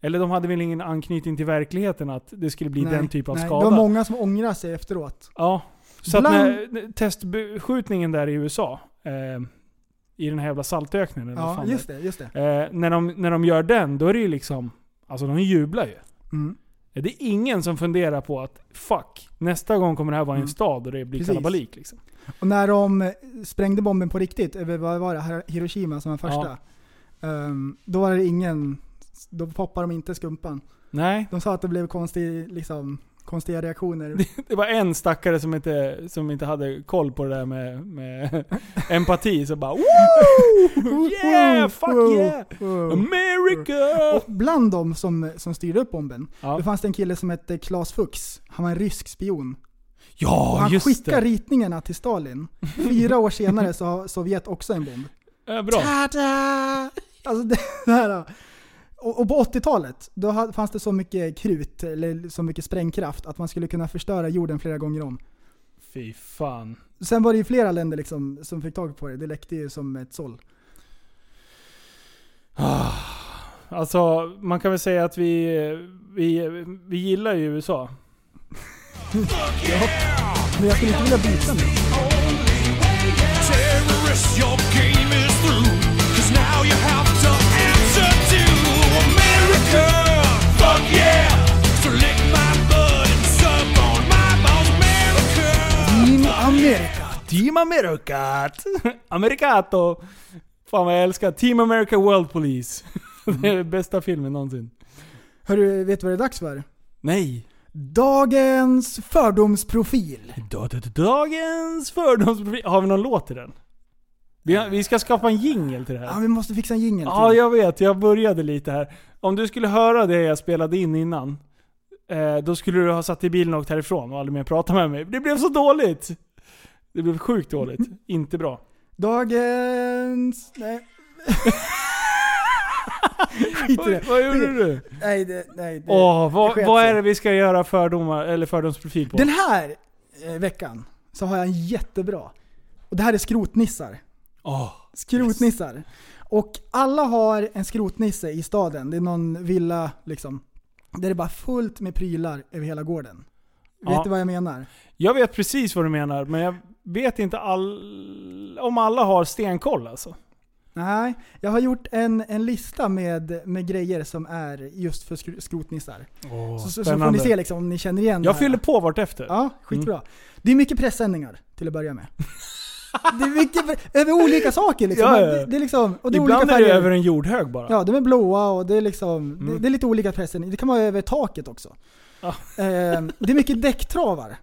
eller de hade väl ingen anknytning till verkligheten att det skulle bli
Nej,
den typ av
nej.
skada.
Det var många som ångrar sig efteråt.
Ja. Så
Bland-
att när när testskjutningen där i USA, eh, i den här jävla saltöknen eller vad
Ja,
fan
just
det.
det. Just det.
är. Eh, när, de, när de gör den, då är det ju liksom, alltså de jublar ju.
Mm.
Det är ingen som funderar på att fuck, nästa gång kommer det här vara i en
Mm.
stad och det blir
Precis.
kalabalik. Liksom.
Och när de eh, sprängde bomben på riktigt, över vad var det? Hiroshima som var första. Ehm, då var det ingen, då poppade de inte skumpan.
Nej,
De sa att det blev konstig, liksom, konstiga reaktioner.
det var en stackare som inte, som inte hade koll på det där med, med <laughs> empati. Så bara <laughs> woo! Yeah! Fuck yeah! Mm.
Wow.
America!
Och bland de som, som styrde upp bomben,
Ja.
då fanns det en kille som hette Klas Fuchs. Han var en rysk spion. Och
Ja,
han
just
skickade
det.
ritningarna
<laughs>
till Stalin. Fyra år senare så har Sovjet också en bomb.
Eh, Bra.
Ta-da! Alltså <laughs> det, det här. Och, och på 80-talet, då ha- fanns det så mycket krut, eller så mycket sprängkraft, att man skulle kunna förstöra jorden flera gånger om.
Fy fan.
Sen var det ju flera länder liksom, som fick tag på det. Det läckte ju som ett såll.
Alltså, man kan väl säga att vi, vi, vi gillar ju USA.
Men jag skulle inte vilja byta nu.
Terrorists, your game is through. Cause now you have to answer to America. Fuck yeah! So lick my butt and suck on my balls, America.
Team America!
Team Americat! <laughs> Americato! Fan vad jag älskar. Team America World Police. <laughs> Det är bästa filmen någonsin.
Hörru, vet du vad det är dags för?
Nej.
Dagens fördomsprofil.
Da- da- da- Dagens fördomsprofil. Har vi någon låt till den? Vi, har, vi ska skapa en jingle till det
Ja,
här.
vi måste fixa en jingel
Ja, jag vet. Jag började lite här. Om du skulle höra det jag spelade in innan, eh, då skulle du ha satt i bilen och åkt härifrån och aldrig mer pratat med mig. Det blev så dåligt! Det blev sjukt dåligt. Inte bra.
Dagens... Nej. <laughs> Skit i det.
Vad, vad gjorde du?
Nej, det, nej. Det.
Åh,
det
vad,
sket
vad
sig.
är det vi ska göra fördomar, eller fördomsprofil på?
Den här eh, veckan så har jag en jättebra. Och det här är skrotnissar.
Åh,
Skrotnissar. Och alla har en skrotnisse i staden. Det är någon villa liksom. Där det är bara fullt med prylar över hela gården.
Ja.
Vet du vad jag menar?
Jag vet precis vad du menar, men jag vet inte all, om alla har stenkoll alltså.
Nej, jag har gjort en, en lista med, med grejer som är just för skro- skrotnissar. Så, så, så får ni
spännande.
se liksom, om ni känner igen det
Jag
här.
fyller på vartefter.
Ja, skitbra. Det är mycket pressändningar till att börja med. det är mycket, pre- över olika saker liksom.
Ja, ja.
Det, det är liksom och det är
Ibland
olika
är det
färger.
över en jordhög bara.
Ja, de är blåa och det är liksom, det,
Mm.
det är lite olika pressändningar. Det kan vara över taket också.
Ja.
Ehm, det är mycket däcktravar.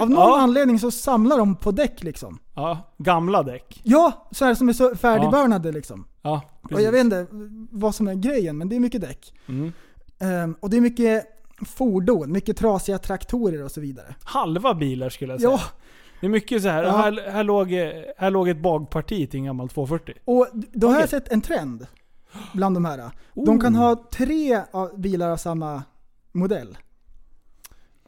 Av någon
Ja.
anledning så samlar de på däck liksom.
Ja, gamla däck.
Ja, så här som är så färdigburnade liksom.
Ja,
Och jag vet inte vad som är grejen, men det är mycket däck.
Mm.
Ehm, och det är mycket fordon, mycket trasiga traktorer och så vidare.
Halva bilar skulle jag säga.
Ja,
Det är mycket så här.
Ja.
Här, här, låg, eh, här låg ett bagparti till en gammal 240.
och d- då har jag
Okej.
sett en trend bland de här. De kan
Oh.
ha tre av- bilar av samma modell.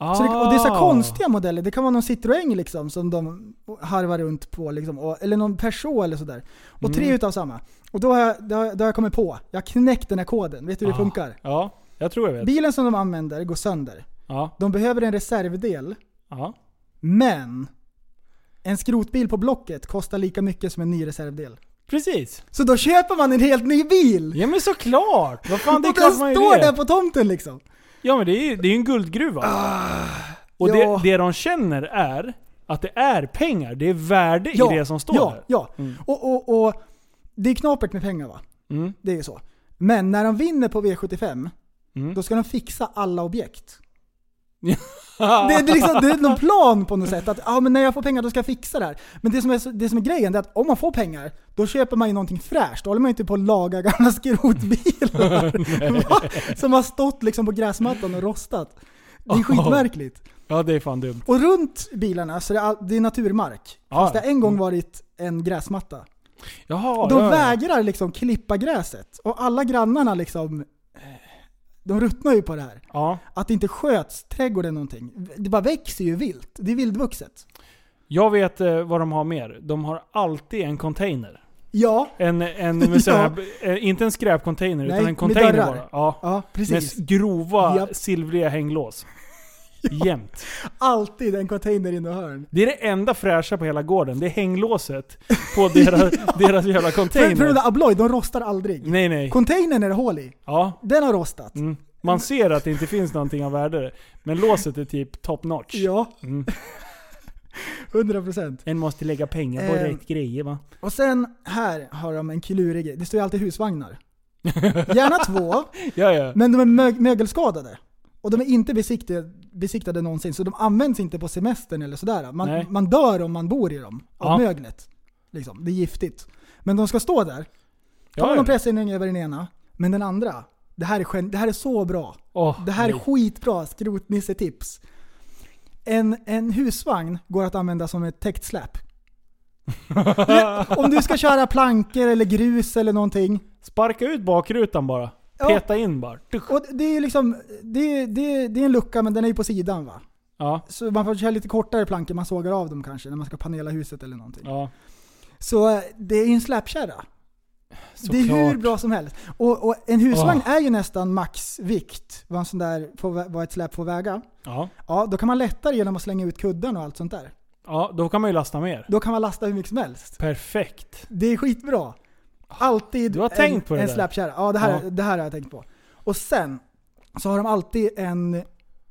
Ah.
Så det, och det är så här konstiga modeller. Det kan vara någon Citroën liksom som de harvar runt på. Liksom, och, eller någon Peugeot eller sådär. Och tre
Mm.
utav samma. Och då har, jag, då, har, jag- då har jag kommit på. Jag har knäckt den här koden. Vet du hur det
Ah.
funkar?
Ja, jag tror jag vet.
Bilen som de använder går sönder.
Ja,
De behöver en reservdel.
ja.
Men en skrotbil på Blocket kostar lika mycket som en ny reservdel.
Precis.
Så då köper man en helt ny bil!
Ja men såklart! Vad fan, det är
och den
klart man gör
står
det.
där på tomten liksom.
Ja men det är ju det är ju en guldgruva. och det,
Ah, ja.
det de känner är att det är pengar. Det är värde i det som står
ja,
där.
Ja, och, och, och det är knapert med pengar va?
Mm.
Det är ju så. Men när de vinner på V75,
Mm.
då ska de fixa alla objekt. Det, det, är liksom, det är någon plan på något sätt. Att ah, men när jag får pengar då ska jag fixa det här. Men det som är, så- det som är grejen det är att om man får pengar, då köper man ju någonting fräscht. Då håller man ju inte på att laga
<laughs>
gamla skrotbilar. Va? <laughs> som har stått liksom på gräsmattan och rostat. Det är skitmärkligt.
Ja det är fan dumt.
Och runt bilarna så är det, all, det är naturmark. Fast
Ja.
det har en gång varit en gräsmatta.
Jaha,
Och de
ja, ja.
vägrar liksom klippa gräset. Och alla grannarna liksom, eh, de ruttnar ju på det här.
Ja.
Att det inte sköts trädgården någonting. Det bara växer ju vilt. Det är vildvuxet.
Jag vet eh, vad de har mer. De har alltid en container.
Ja,
En, en, med så
<laughs>
här, eh, inte en skräpcontainer
Nej,
utan en
med
container
dörrar.
bara. Ja.
ja
Med
precis.
s- grova
Japp.
silvriga
<laughs>
hänglås. Jämt.
Alltid en container in i hörn.
Det är det enda fräscha på hela gården. Det är hänglåset på deras,
<laughs>
deras jävla
För, för den
container.
där Abloy, de rostar aldrig.
Nej nej.
Containern är det hål i.
Ja,
Den har rostat.
Mm. Man ser att det inte finns någonting av värde. Men låset är typ top notch.
Ja, <laughs>
Mm.
100%.
En måste lägga pengar på
Eh.
rätt grejer va?
Och sen här har de en klurig grej. Det står ju
<laughs>
alltid husvagnar. Gärna två,
Ja, ja.
men de är mög- mögelskadade. Och de är inte besiktade, besiktade någonsin, så de används inte på semestern eller sådär. Man,
Nej.
man dör om man bor i dem, av
Ja.
möglet. Liksom. Det är giftigt. Men de ska stå där. Ta
Ja,
någon
ja.
pressändning över den ena, men den andra. Det här är, gen- det här är så bra.
Åh,
Det här är
nej.
skitbra skrotnissetips. En, en husvagn går att använda som ett täckt släp. <laughs> Om du ska köra plankor eller grus eller någonting.
<laughs> Sparka ut bakrutan bara.
Ja.
Peta in bara. Tusch.
Och det är ju liksom, det är, det, är, det är en lucka men den är ju på sidan va.
Ja,
Så man får köra lite kortare plankor, man sågar av dem kanske när man ska panela huset eller någonting.
ja.
Så eh, det är ju en släpkärra. Det är hur
Såklart.
bra som helst. Och, och en husvagn är ju nästan maxvikt, vad, en sån där, får vä- vad ett släp får väga.
Ja.
Ja, då kan man lätta det genom att slänga ut kudden och allt sånt där.
ja, då kan man ju lasta mer.
Då kan man lasta hur mycket som helst.
Perfekt.
Det är skitbra. Alltid
Du har tänkt på det
en, en
där.
släpkärra. Ja, det här,
Ja.
det här har jag tänkt på. Och sen så har de alltid en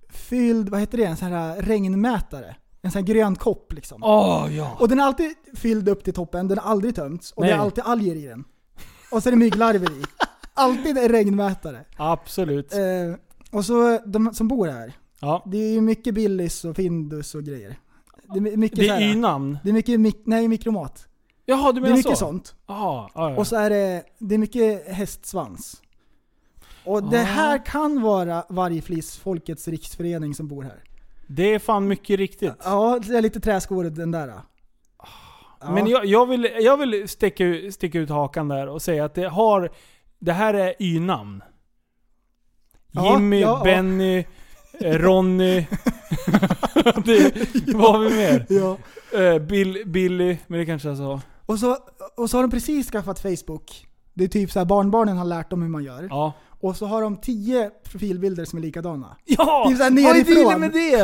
fylld, vad heter det, en sån här regnmätare. En sån här grön kopp liksom.
Åh ja!
Och den är alltid fylld upp till toppen, den har aldrig tömts. Och det är
Nej.
alltid alger i den. Och så är det mygglarver i. Alltid en regnmätare.
Absolut.
Eh, och så de som bor här.
Ja.
Det är ju mycket Billys och Findus och grejer. Det är mycket
Det
så
är
här-
y-namn.
Det är mycket, mik- nej mikromat.
Jaha, du
Det är
menar så?
mycket sånt.
Jaha, ja, ja.
Och så är det, det är mycket hästsvans. Och det
Ah.
här kan vara Vargflis Folkets Riksförening som bor här.
Det är fan mycket riktigt.
Ja, det är lite träskor den där. Ja.
Ah. Men jag, jag vill, jag vill sticka, ut- sticka ut hakan där och säga att det har... Det här är y-namn.
Ja,
Jimmy,
ja, ja.
Benny, eh, Ronny... <laughs> det, vad har vi mer?
Ja.
Eh, Bill, Billy, men det kanske jag sa.
Och, så, och så har de precis skaffat Facebook. Det är typ så här barnbarnen har lärt dem hur man gör.
Ja.
Och så har de tio profilbilder som är likadana.
Ja!
Det är så här
vad är
nerifrån.
dealen med det?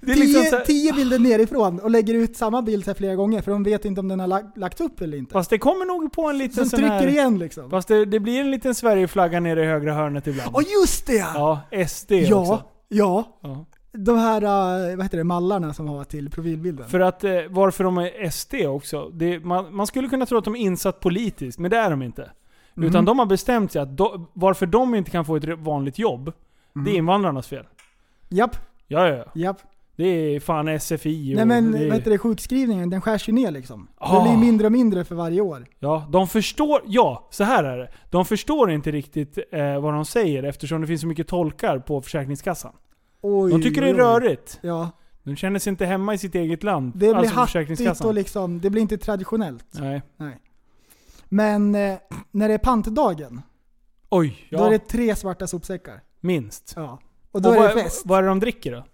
Det är
tio,
liksom så här,
tio bilder nerifrån och lägger ut samma bild så här flera gånger för de vet inte om den har lagt, lagt upp eller inte.
Fast det kommer nog på en liten
Sen
sån här...
trycker igen liksom.
Fast det, det blir en liten Sverigeflagga nere i högra hörnet ibland.
Åh just det!
Ja, SD
ja,
också.
ja.
Ja.
De här, eh, vad heter det, mallarna som har till profilbilden.
För att eh, varför de är SD också. Det, man, man skulle kunna tro att de är insatt politiskt, men det är de inte.
Mhm.
Utan de har bestämt sig att do, varför de inte kan få ett vanligt jobb, det är
Mhm.
invandrarnas fel.
Japp,
Ja, ja, ja.
japp.
Det är fan SFI och...
Nej men
det är,
vad heter det, sjukskrivningen, den skärs ju ner liksom.
Ah.
Det blir mindre och mindre för varje år.
Ja, de förstår... Ja, så här är det. De förstår inte riktigt eh, vad de säger eftersom det finns så mycket tolkar på Försäkringskassan.
Oj,
De tycker det är
oj.
rörigt.
Ja,
De känner sig inte hemma i sitt eget land.
det blir
alltså
hattigt och liksom, det blir inte traditionellt.
Nej.
Men eh, när det är pantdagen,
Oj,
då
ja.
är det tre svarta sopsäckar.
Minst.
Ja. Och då är
vad,
det fest.
vad är det de dricker då?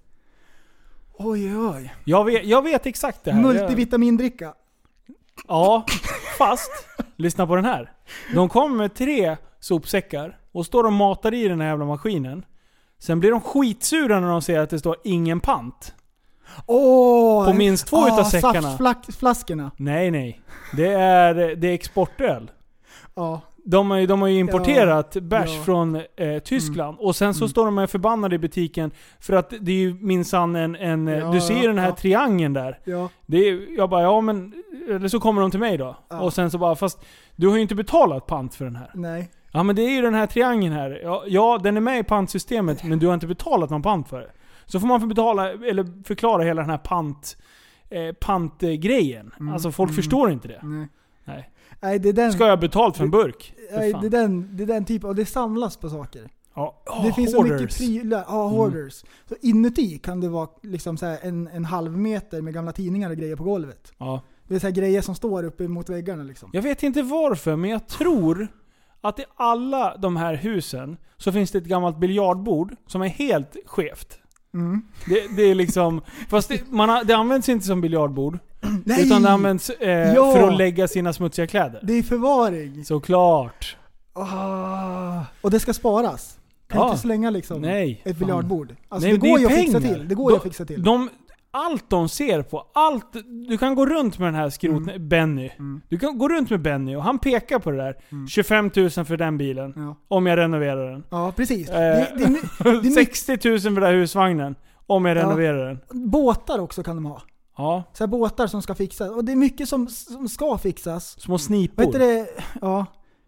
Oj oj.
Jag vet, jag vet exakt det här. Jag,
Multivitamindricka.
ja, fast lyssna på den här. De kommer med tre sopsäckar och står och matar i den här jävla maskinen. Sen blir de skitsura när de ser att det står ingen pant.
Åh!
På minst två utav säckarna.
Saftflaskorna.
Nej, nej. Det är, det är exportöl.
Ja.
De har ju, de har ju importerat bärs
ja. Mm.
från eh, Tyskland. Och sen så står de och är förbannade i butiken för att det är ju minsann en... en eh,
Ja,
du ser ju den här
ja.
triangeln där.
Ja.
Det är, jag bara, ja men... Eller så kommer de till mig då.
Ja.
Och sen så bara, fast du har ju inte betalat pant för den här.
Nej.
Ja men det är ju den här triangeln här. Ja, ja den är med i pantsystemet men du har inte betalat någon pant för det. Så får man för betala, eller förklara hela den här pant... Eh, pantgrejen.
Mm.
Alltså folk förstår inte det.
Nej.
Nej.
Nej, det är den,
Ska jag ha betalt för en burk? För
Mm. nej,
fan.
det är den, det är den typen, och det samlas på saker.
ja.
det
Ah,
finns så mycket
hoarders. Mm.
prylar, ja hoarders. Så inuti kan det vara liksom så här en, en halv meter med gamla tidningar och grejer på golvet.
Ja.
Det är så här grejer som står uppe mot väggarna liksom.
Jag vet inte varför, men jag tror att i alla de här husen så finns det ett gammalt biljardbord som är helt skevt.
Mm.
Det, det är liksom... Fast det, man har, det används inte som biljardbord.
Nej!
Utan det används eh,
Ja!
för att lägga sina smutsiga kläder.
Det är förvaring!
Såklart.
Ah. Och det ska sparas. Kan
Ja.
inte slänga liksom
Ah. Nej,
ett
fan.
biljardbord. Alltså
Nej,
det
men
går
är
ju att fixa
pengar.
till. Det går
de,
ju att fixa till.
De, allt de ser på, allt... Du kan gå runt med den här skrot...
Mm.
Benny. Du kan gå runt med Benny och han pekar på det där.
Mm.
25 000 för den bilen.
Ja.
Om jag renoverar den.
Ja, precis.
Eh,
Det, det är, my-
<laughs>
det är mycket
60 000 för den här husvagnen. Om jag
Ja.
renoverar den.
båtar också kan de ha.
Ja.
Så här båtar som ska fixas. Och det är mycket som, som ska fixas.
Små snipor.
Vad heter det? Ja.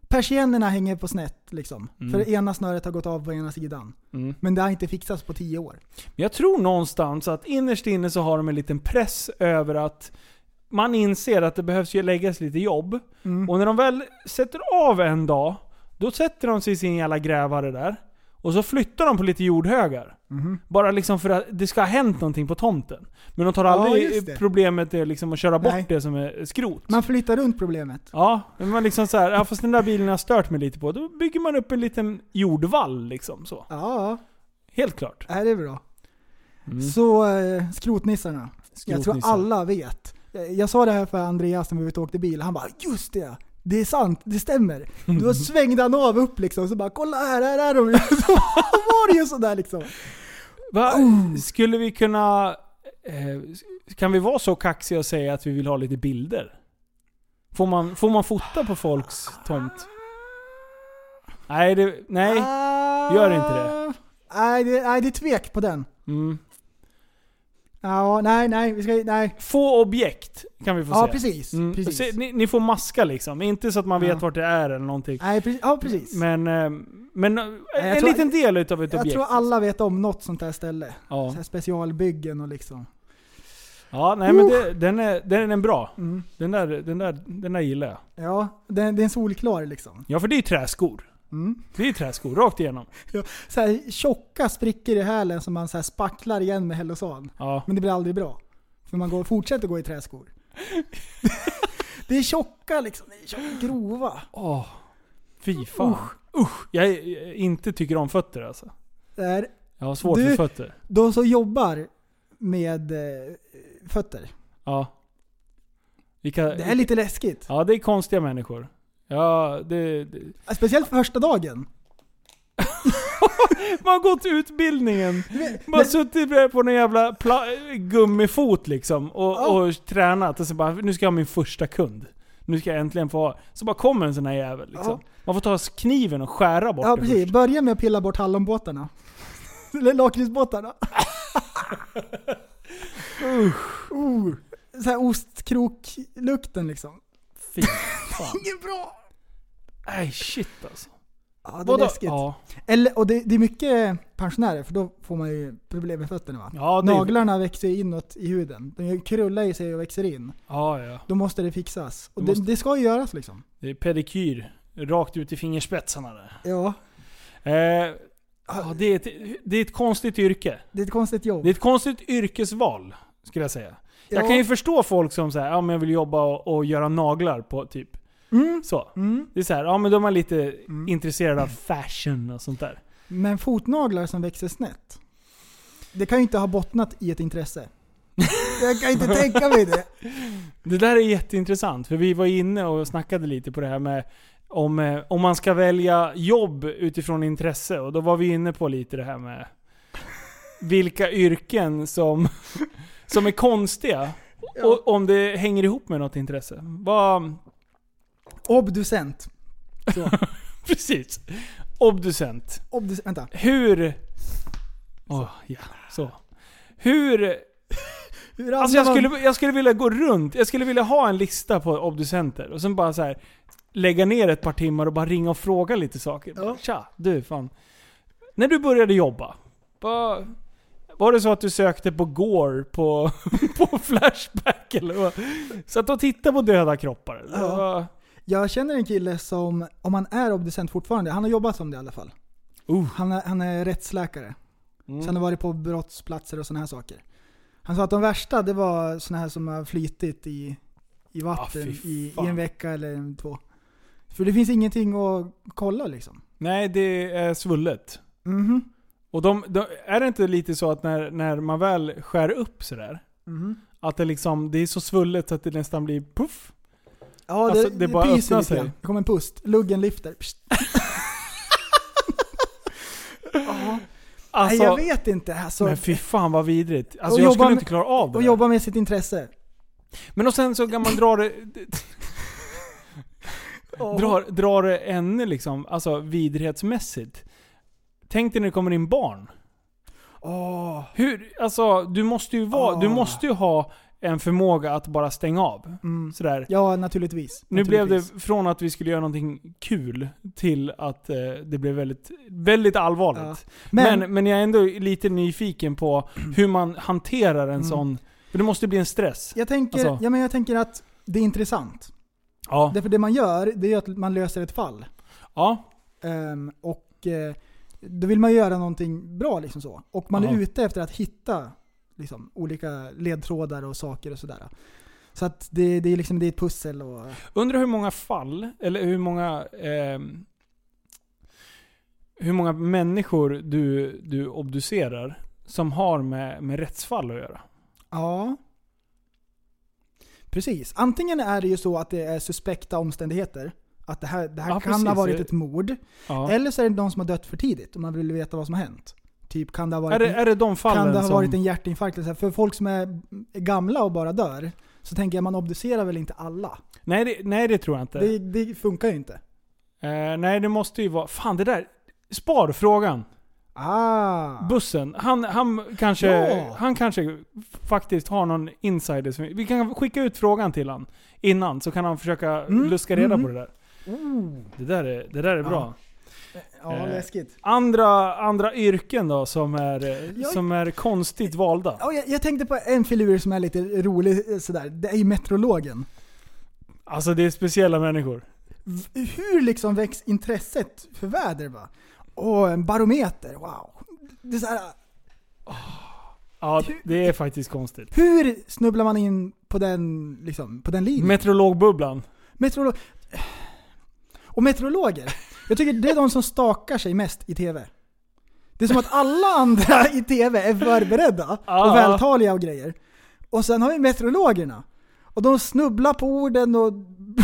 Persiennerna hänger på snett liksom.
Mm.
För det ena snöret har gått av på ena sidan.
Mm.
Men det har inte fixats på tio år.
Men Jag tror någonstans att innerst inne så har de en liten press över att man inser att det behövs ju läggas lite jobb.
Mm.
Och när de väl sätter av en dag, då sätter de sig i sin jävla grävare där. Och så flyttar de på lite jordhögar.
Mhm.
Bara liksom för att det ska ha hänt någonting på tomten. Men de tar
Ja,
aldrig
just det.
problemet är liksom att köra bort
Nej.
det som är skrot.
Man flyttar runt problemet.
Ja, men man liksom så här, ja, fast den där bilen har stört mig lite på. Då bygger man upp en liten jordvall liksom så.
Ja,
Helt klart.
ja. Är det är bra.
Mm.
Så eh, skrotnissarna. Jag tror
Skrotnissar.
alla vet. Jag, jag sa det här för Andreas när vi var ute och åkte bil. Han bara just det. Det är sant,
<laughs>
det stämmer. Då svängde han av upp liksom, så bara kolla här, här är de ju." <laughs> Så var det ju sådär liksom.
Va?
Oh!
Skulle vi kunna... Eh, kan vi vara så kaxiga och säga att vi vill ha lite bilder? Får man, får man fota på folks tomt? Nej, det, nej.
Ah.
gör inte det.
Nej, det, nej, det är tvek på den.
Mm.
Ja, nej, nej, vi ska, nej.
Få objekt kan vi få
Ja,
se.
precis.
Mm.
precis.
Se, ni, ni får maska liksom, inte så att man vet
Ja.
vart det är eller någonting.
Nej, precis. Ja, precis.
Men, eh, men eh, en
tror-
liten del utav ett
jag
objekt.
tror alla vet om något sånt här ställe.
Ja,
Så här specialbyggen och liksom.
ja nej men det, den, är, den är bra.
Mm.
Den där, den där, den där gillar jag.
Ja, det, det är en solklar liksom.
Ja för det är ju träskor.
Mm.
Det är ju träskor rakt igenom.
Så här tjocka sprickor i hälen som man så här spacklar igen med Hellosan.
Ja.
Men det blir aldrig bra. För man går, fortsätter gå
<laughs>
i träskor. det är tjocka liksom, det är tjocka, grova.
Åh, fy fan. Usch. Jag, jag inte tycker om fötter alltså.
Det är,
Jag har svårt
Du-
för fötter.
de som jobbar med eh, fötter.
Ja. Vilka,
Det är lite läskigt.
Ja, det är konstiga människor. Ja, det, det.
Speciellt för första dagen.
Man har gått utbildningen. Man har suttit där på någon jävla pla- gummifot liksom och,
Ja.
och tränat. Och så bara, nu ska jag ha min första kund. Nu ska jag äntligen få ha. Så bara kommer en sån här jävel liksom.
Ja.
Man får ta kniven och skära bort
Ja
det
precis,
först.
börja med att pilla
<laughs>
bort hallonbåtarna. Eller lakritsbåtarna. uh. Så här ostkrok-lukten liksom.
Fy fan.
<laughs> Inget bra!
Nej shit alltså.
Ja, det är
Vadå?
läskigt.
Ja.
Eller, och det, det är mycket pensionärer, för då får man ju problem med fötterna va?
Ja, det är-
Naglarna växer ju inåt i huden. De krullar ju sig och växer in.
ja, ja.
Då måste det fixas. Och
Det
det,
måste-
det ska ju göras liksom.
Det är pedikyr rakt ut i fingerspetsarna där.
Ja.
Eh, ja, det, är ett, det är ett konstigt yrke.
Det är ett konstigt jobb.
Det är ett konstigt yrkesval, skulle jag säga. Jag
Ja.
kan ju förstå folk som säger ja men jag vill jobba och, och göra naglar på typ
Mm.
så.
Mm.
Det är så här, ja men då är man lite intresserad av fashion och sånt där.
Men fotnaglar som växer snett. Det kan ju inte ha bottnat i ett intresse. Jag kan inte tänka mig det.
Det där är jätteintressant, för vi var inne och snackade lite på det här med om, eh, om man ska välja jobb utifrån intresse. Och då var vi inne på lite det här med vilka yrken som, <laughs> som är konstiga. Och om det hänger ihop med något intresse. Vad, <laughs>
Obducent.
precis. Obducent.
Obducent. Vänta.
Hur... Åh, ja. Så. Hur...
Hur
Alltså jag
hamnar man-
skulle, jag skulle vilja gå runt, jag skulle vilja ha en lista på obducenter och sen bara så här lägga ner ett par timmar och bara ringa och fråga lite saker. Bara, Tja, du fan. När du började jobba, vad- var det så att du sökte på Gore på, <laughs> på Flashback eller vad? Så att de tittar på döda kroppar? eller
Ja.
vad?
Jag känner en kille som, om han är obducent fortfarande, han har jobbat som det i alla fall. Han, är, han är rättsläkare. Så
Mm.
han har varit på brottsplatser och sådana här saker. Han sa att de värsta, det var sådana här som har flytit i, i vatten
Ah, fy
i, i
fan.
en vecka eller en- två. För det finns ingenting att kolla liksom.
Nej, det är svullet.
Mhm.
Och de, de, är det inte lite så att när, när man väl skär upp sådär,
Mhm.
att det liksom, det är så svullet så att det nästan blir puff.
Ja,
Alltså,
det,
det
det,
bara
pyser
öppnar
lite grann.
sig.
Det kommer en pust. Luggen lyfter. Psst.
Alltså,
Nej, jag vet inte. Alltså,
Men fy fan vad vidrigt. Alltså
Och
jag
jobba
skulle
med-
inte klara av det.
och
där.
jobba med sitt intresse.
Men och sen så kan man
<laughs>
dra det... dra, dra det ännu liksom, alltså vidrighetsmässigt. Tänk dig när det kommer in barn.
Åh.
Hur, alltså du måste ju vara, du
Ah.
måste ju ha en förmåga att bara stänga av.
Mm.
Sådär.
Ja, naturligtvis.
Nu blev det
naturligtvis.
från att vi skulle göra någonting kul till att eh, det blev väldigt, väldigt
Ah.
allvarligt. Men,
Men,
men, jag är ändå lite nyfiken på hur man hanterar en
Mm.
sån... För det måste bli en stress.
jag, tänker,
alltså-
ja, men jag tänker att det är intressant.
Ja.
Därför det man gör, det är att man löser ett fall.
ja.
Ehm, och eh, då vill man ju göra någonting bra liksom så. Och man
Ja.
är ute efter att hitta liksom, olika ledtrådar och saker och sådär. Så att det, det, är liksom, det är ett pussel och...
Undrar hur många fall, eller hur många... ehm, hur många människor du, du obducerar som har med, med rättsfall att göra.
Ja. Precis. Antingen är det ju så att det är suspekta omständigheter. Att det här, det här
Ja,
kan
precis.
ha varit ett mord.
Ja.
Eller så är det någon som har dött för tidigt och man vill veta vad som har hänt. Typ kan det ha varit,
Är, det, är det de fallen
kan det ha
som...
varit en hjärtinfarkt? eller så här? För folk som är gamla och bara dör, så tänker jag man obducerar väl inte alla?
nej, det, nej, det tror jag inte.
Det, det funkar ju inte.
Eh, nej, det måste ju vara... Fan, det där... Spar frågan.
Ah.
Bussen. Han, han, kanske,
Ja.
han kanske faktiskt har någon insider. Som, vi kan skicka ut frågan till han innan så kan han försöka
Mm.
luska reda
Mhm.
på det där. Det där är, det där är bra.
Oh. Ja,
Eh.
läskigt.
Andra, andra yrken då som är, eh,
Jag-
som är konstigt valda.
Ja, jag, jag tänkte på en filur som är lite rolig eh, sådär. Det är ju metrologen.
Alltså det är speciella människor.
V- Hur liksom väcks intresset för väder va? Och en barometer, wow. Det är så här,
Ja, det är faktiskt konstigt.
hur snubblar man in på den, liksom, på den linjen?
Meteorologbubblan.
Meteorolo- och meteorologer, jag tycker det är de som stakar sig mest i TV. Det är som att alla andra i TV är förberedda
Ja.
och vältaliga och grejer. Och sen har vi meteorologerna. Och de snubblar på orden och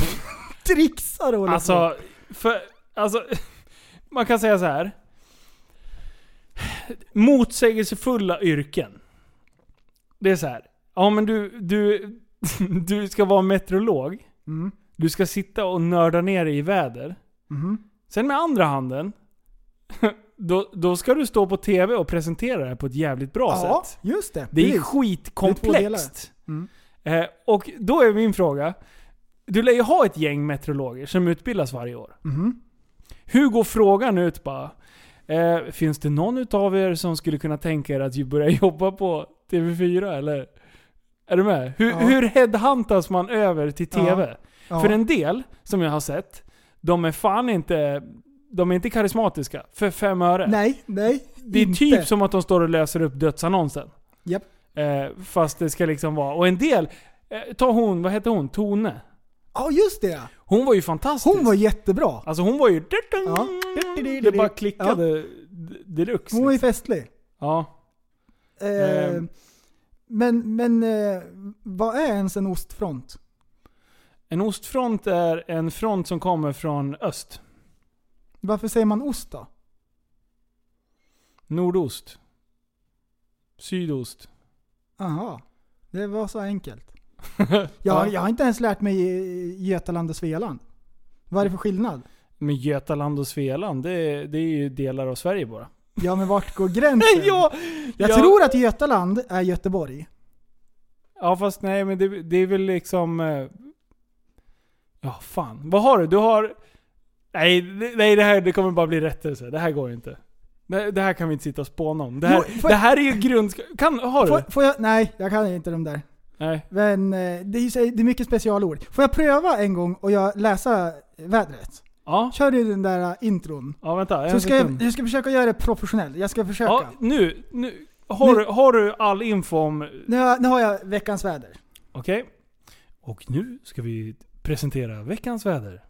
<laughs> trixar och håller på.
Alltså, för, alltså, <laughs> man kan säga så här. Motsägelsefulla yrken. Det är så här. Ja men du, du, <laughs> du ska vara meteorolog.
Mm.
Du ska sitta och nörda ner dig i väder.
Mhm.
Sen med andra handen, <laughs> då, då ska du stå på TV och presentera det här på ett jävligt bra
Ja,
sätt.
just det.
Det är
Precis. Det är två
skitkomplext.
Mm.
Eh, och då är min fråga. Du lär ju ha ett gäng meteorologer som utbildas varje år.
Mhm.
Hur går frågan ut bara? Eh, finns det någon utav er som skulle kunna tänka er att ju börja <laughs> jobba på TV4 eller? Är du med? Hur,
Ja.
hur headhuntas man över till
Ja.
TV?
Ja.
För en del, som jag har sett, de är fan inte... De är inte karismatiska. För fem öre.
Nej, nej.
det är
inte.
typ som att de står och läser upp dödsannonsen.
Japp.
Eh, fast det ska liksom vara... Och en del... Eh, ta hon, vad hette hon? Tone.
Ja, just det.
Hon var ju fantastisk.
Hon var jättebra.
Alltså hon var ju...
Ja.
Det bara klickade d- deluxe.
Hon var ju
liksom.
festlig.
Ja.
Eh,
Ehm.
men, men eh, vad är ens en ostfront?
En ostfront är en front som kommer från öst.
Varför säger man ost då?
Nordost. Sydost.
Aha, det var
<laughs>
så enkelt. Jag, jag har inte ens lärt mig eh, Götaland och Svealand. Vad är det för skillnad?
Men Götaland och Svealand, det, det är ju delar av Sverige bara.
Ja, men
<laughs>
vart går gränsen?
ja,
jag
ja.
tror att Götaland är Göteborg.
Ja fast nej men det, det är väl liksom... eh, Ja fan. Vad har du? Du har... Nej, det- nej det här det kommer bara bli rättelse. Det här går ju inte. Det, det här kan vi inte sitta och spåna om. Det här,
Jo, får-
det här är ju grund... Kan, har du?
Får, får jag, nej, jag kan inte de där.
Nej.
Men eh, det är, ju så- det är mycket specialord. Får jag pröva en gång och jag läsa vädret?
Ja.
Kör du den där eh, intron?
Ja vänta.
Så
En
ska
sekund.
jag, jag ska försöka göra det professionellt. Jag ska försöka.
Ja, nu. nu. Har,
Nu-
Du, har du all info om...
Nu, har- nu har jag veckans väder.
Okej. Och nu ska vi presentera veckans väder.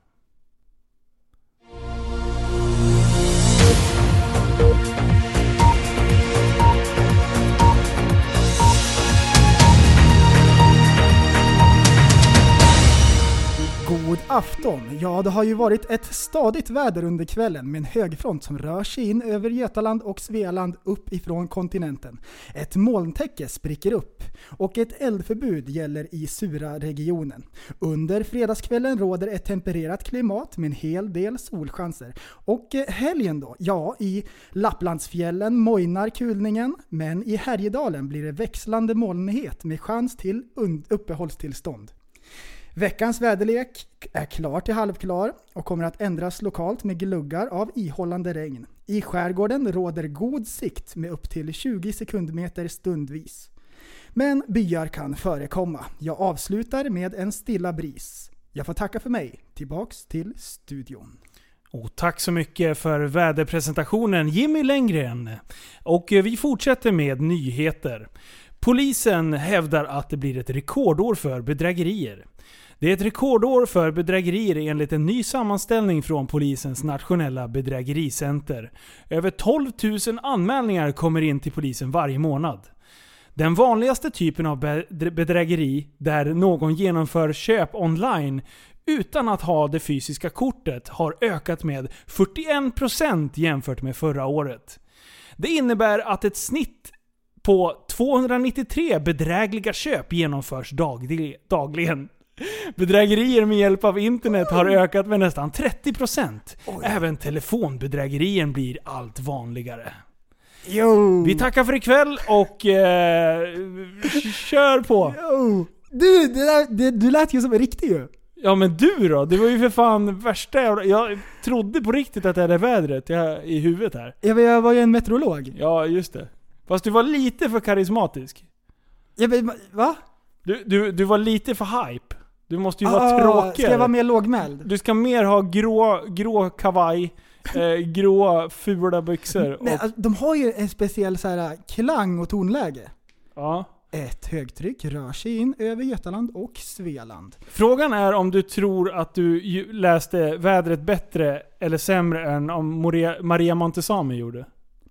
God afton! Ja, det har ju varit ett stadigt väder under kvällen med en högfront som rör sig in över Götaland och Svealand upp ifrån kontinenten. Ett molntäcke spricker upp och ett eldförbud gäller i Sura-regionen. Under fredagskvällen råder ett tempererat klimat med en hel del solchanser. Och eh, helgen då? Ja, i Lapplandsfjällen mojnar kulningen, men i Härjedalen blir det växlande molnighet med chans till und- uppehållstillstånd. Veckans väderlek är klar till halvklar och kommer att ändras lokalt med gluggar av ihållande regn. I skärgården råder god sikt med upp till 20 sekundmeter stundvis. Men byar kan förekomma. Jag avslutar med en stilla bris. Jag får tacka för mig. Tillbaks till studion.
Och tack så mycket för väderpresentationen Jimmy Lenngren. Och eh, vi fortsätter med nyheter. Polisen hävdar att det blir ett rekordår för bedrägerier. Det är ett rekordår för bedrägerier enligt en ny sammanställning från polisens nationella bedrägericenter. Över 12 000 anmälningar kommer in till polisen varje månad. Den vanligaste typen av bedr- bedrägeri, där någon genomför köp online utan att ha det fysiska kortet, har ökat med 41% jämfört med förra året. Det innebär att ett snitt på 293 bedrägliga köp genomförs dagli- dagligen. Bedrägerier med hjälp av internet har ökat med nästan 30%. Även telefonbedrägerien blir allt vanligare.
Jo!
Vi tackar för ikväll och eh, kör på!
Jo. Du, det där, det, du lät ju som en riktig ju.
Ja men du då? Det var ju för fan värsta jävla... Jag trodde på riktigt att det hade vädret jag, i huvudet här.
Jag, vet, jag var ju en meteorolog.
Ja, just det. Fast du var lite för karismatisk.
Jag, vet, va?
Du, du, du var lite för hype. Du måste ju vara
Ah,
tråkigare.
Ska jag vara mer lågmäld?
Du ska mer ha grå, grå kavaj, eh, grå fula byxor och...
<laughs> Nej, alltså, de har ju en speciell så här, äh, klang och tonläge.
ja.
Ett högtryck rör sig in över Götaland och Svealand.
Frågan är om du tror att du ju- läste vädret bättre eller sämre än om Maria, Maria Montesami gjorde.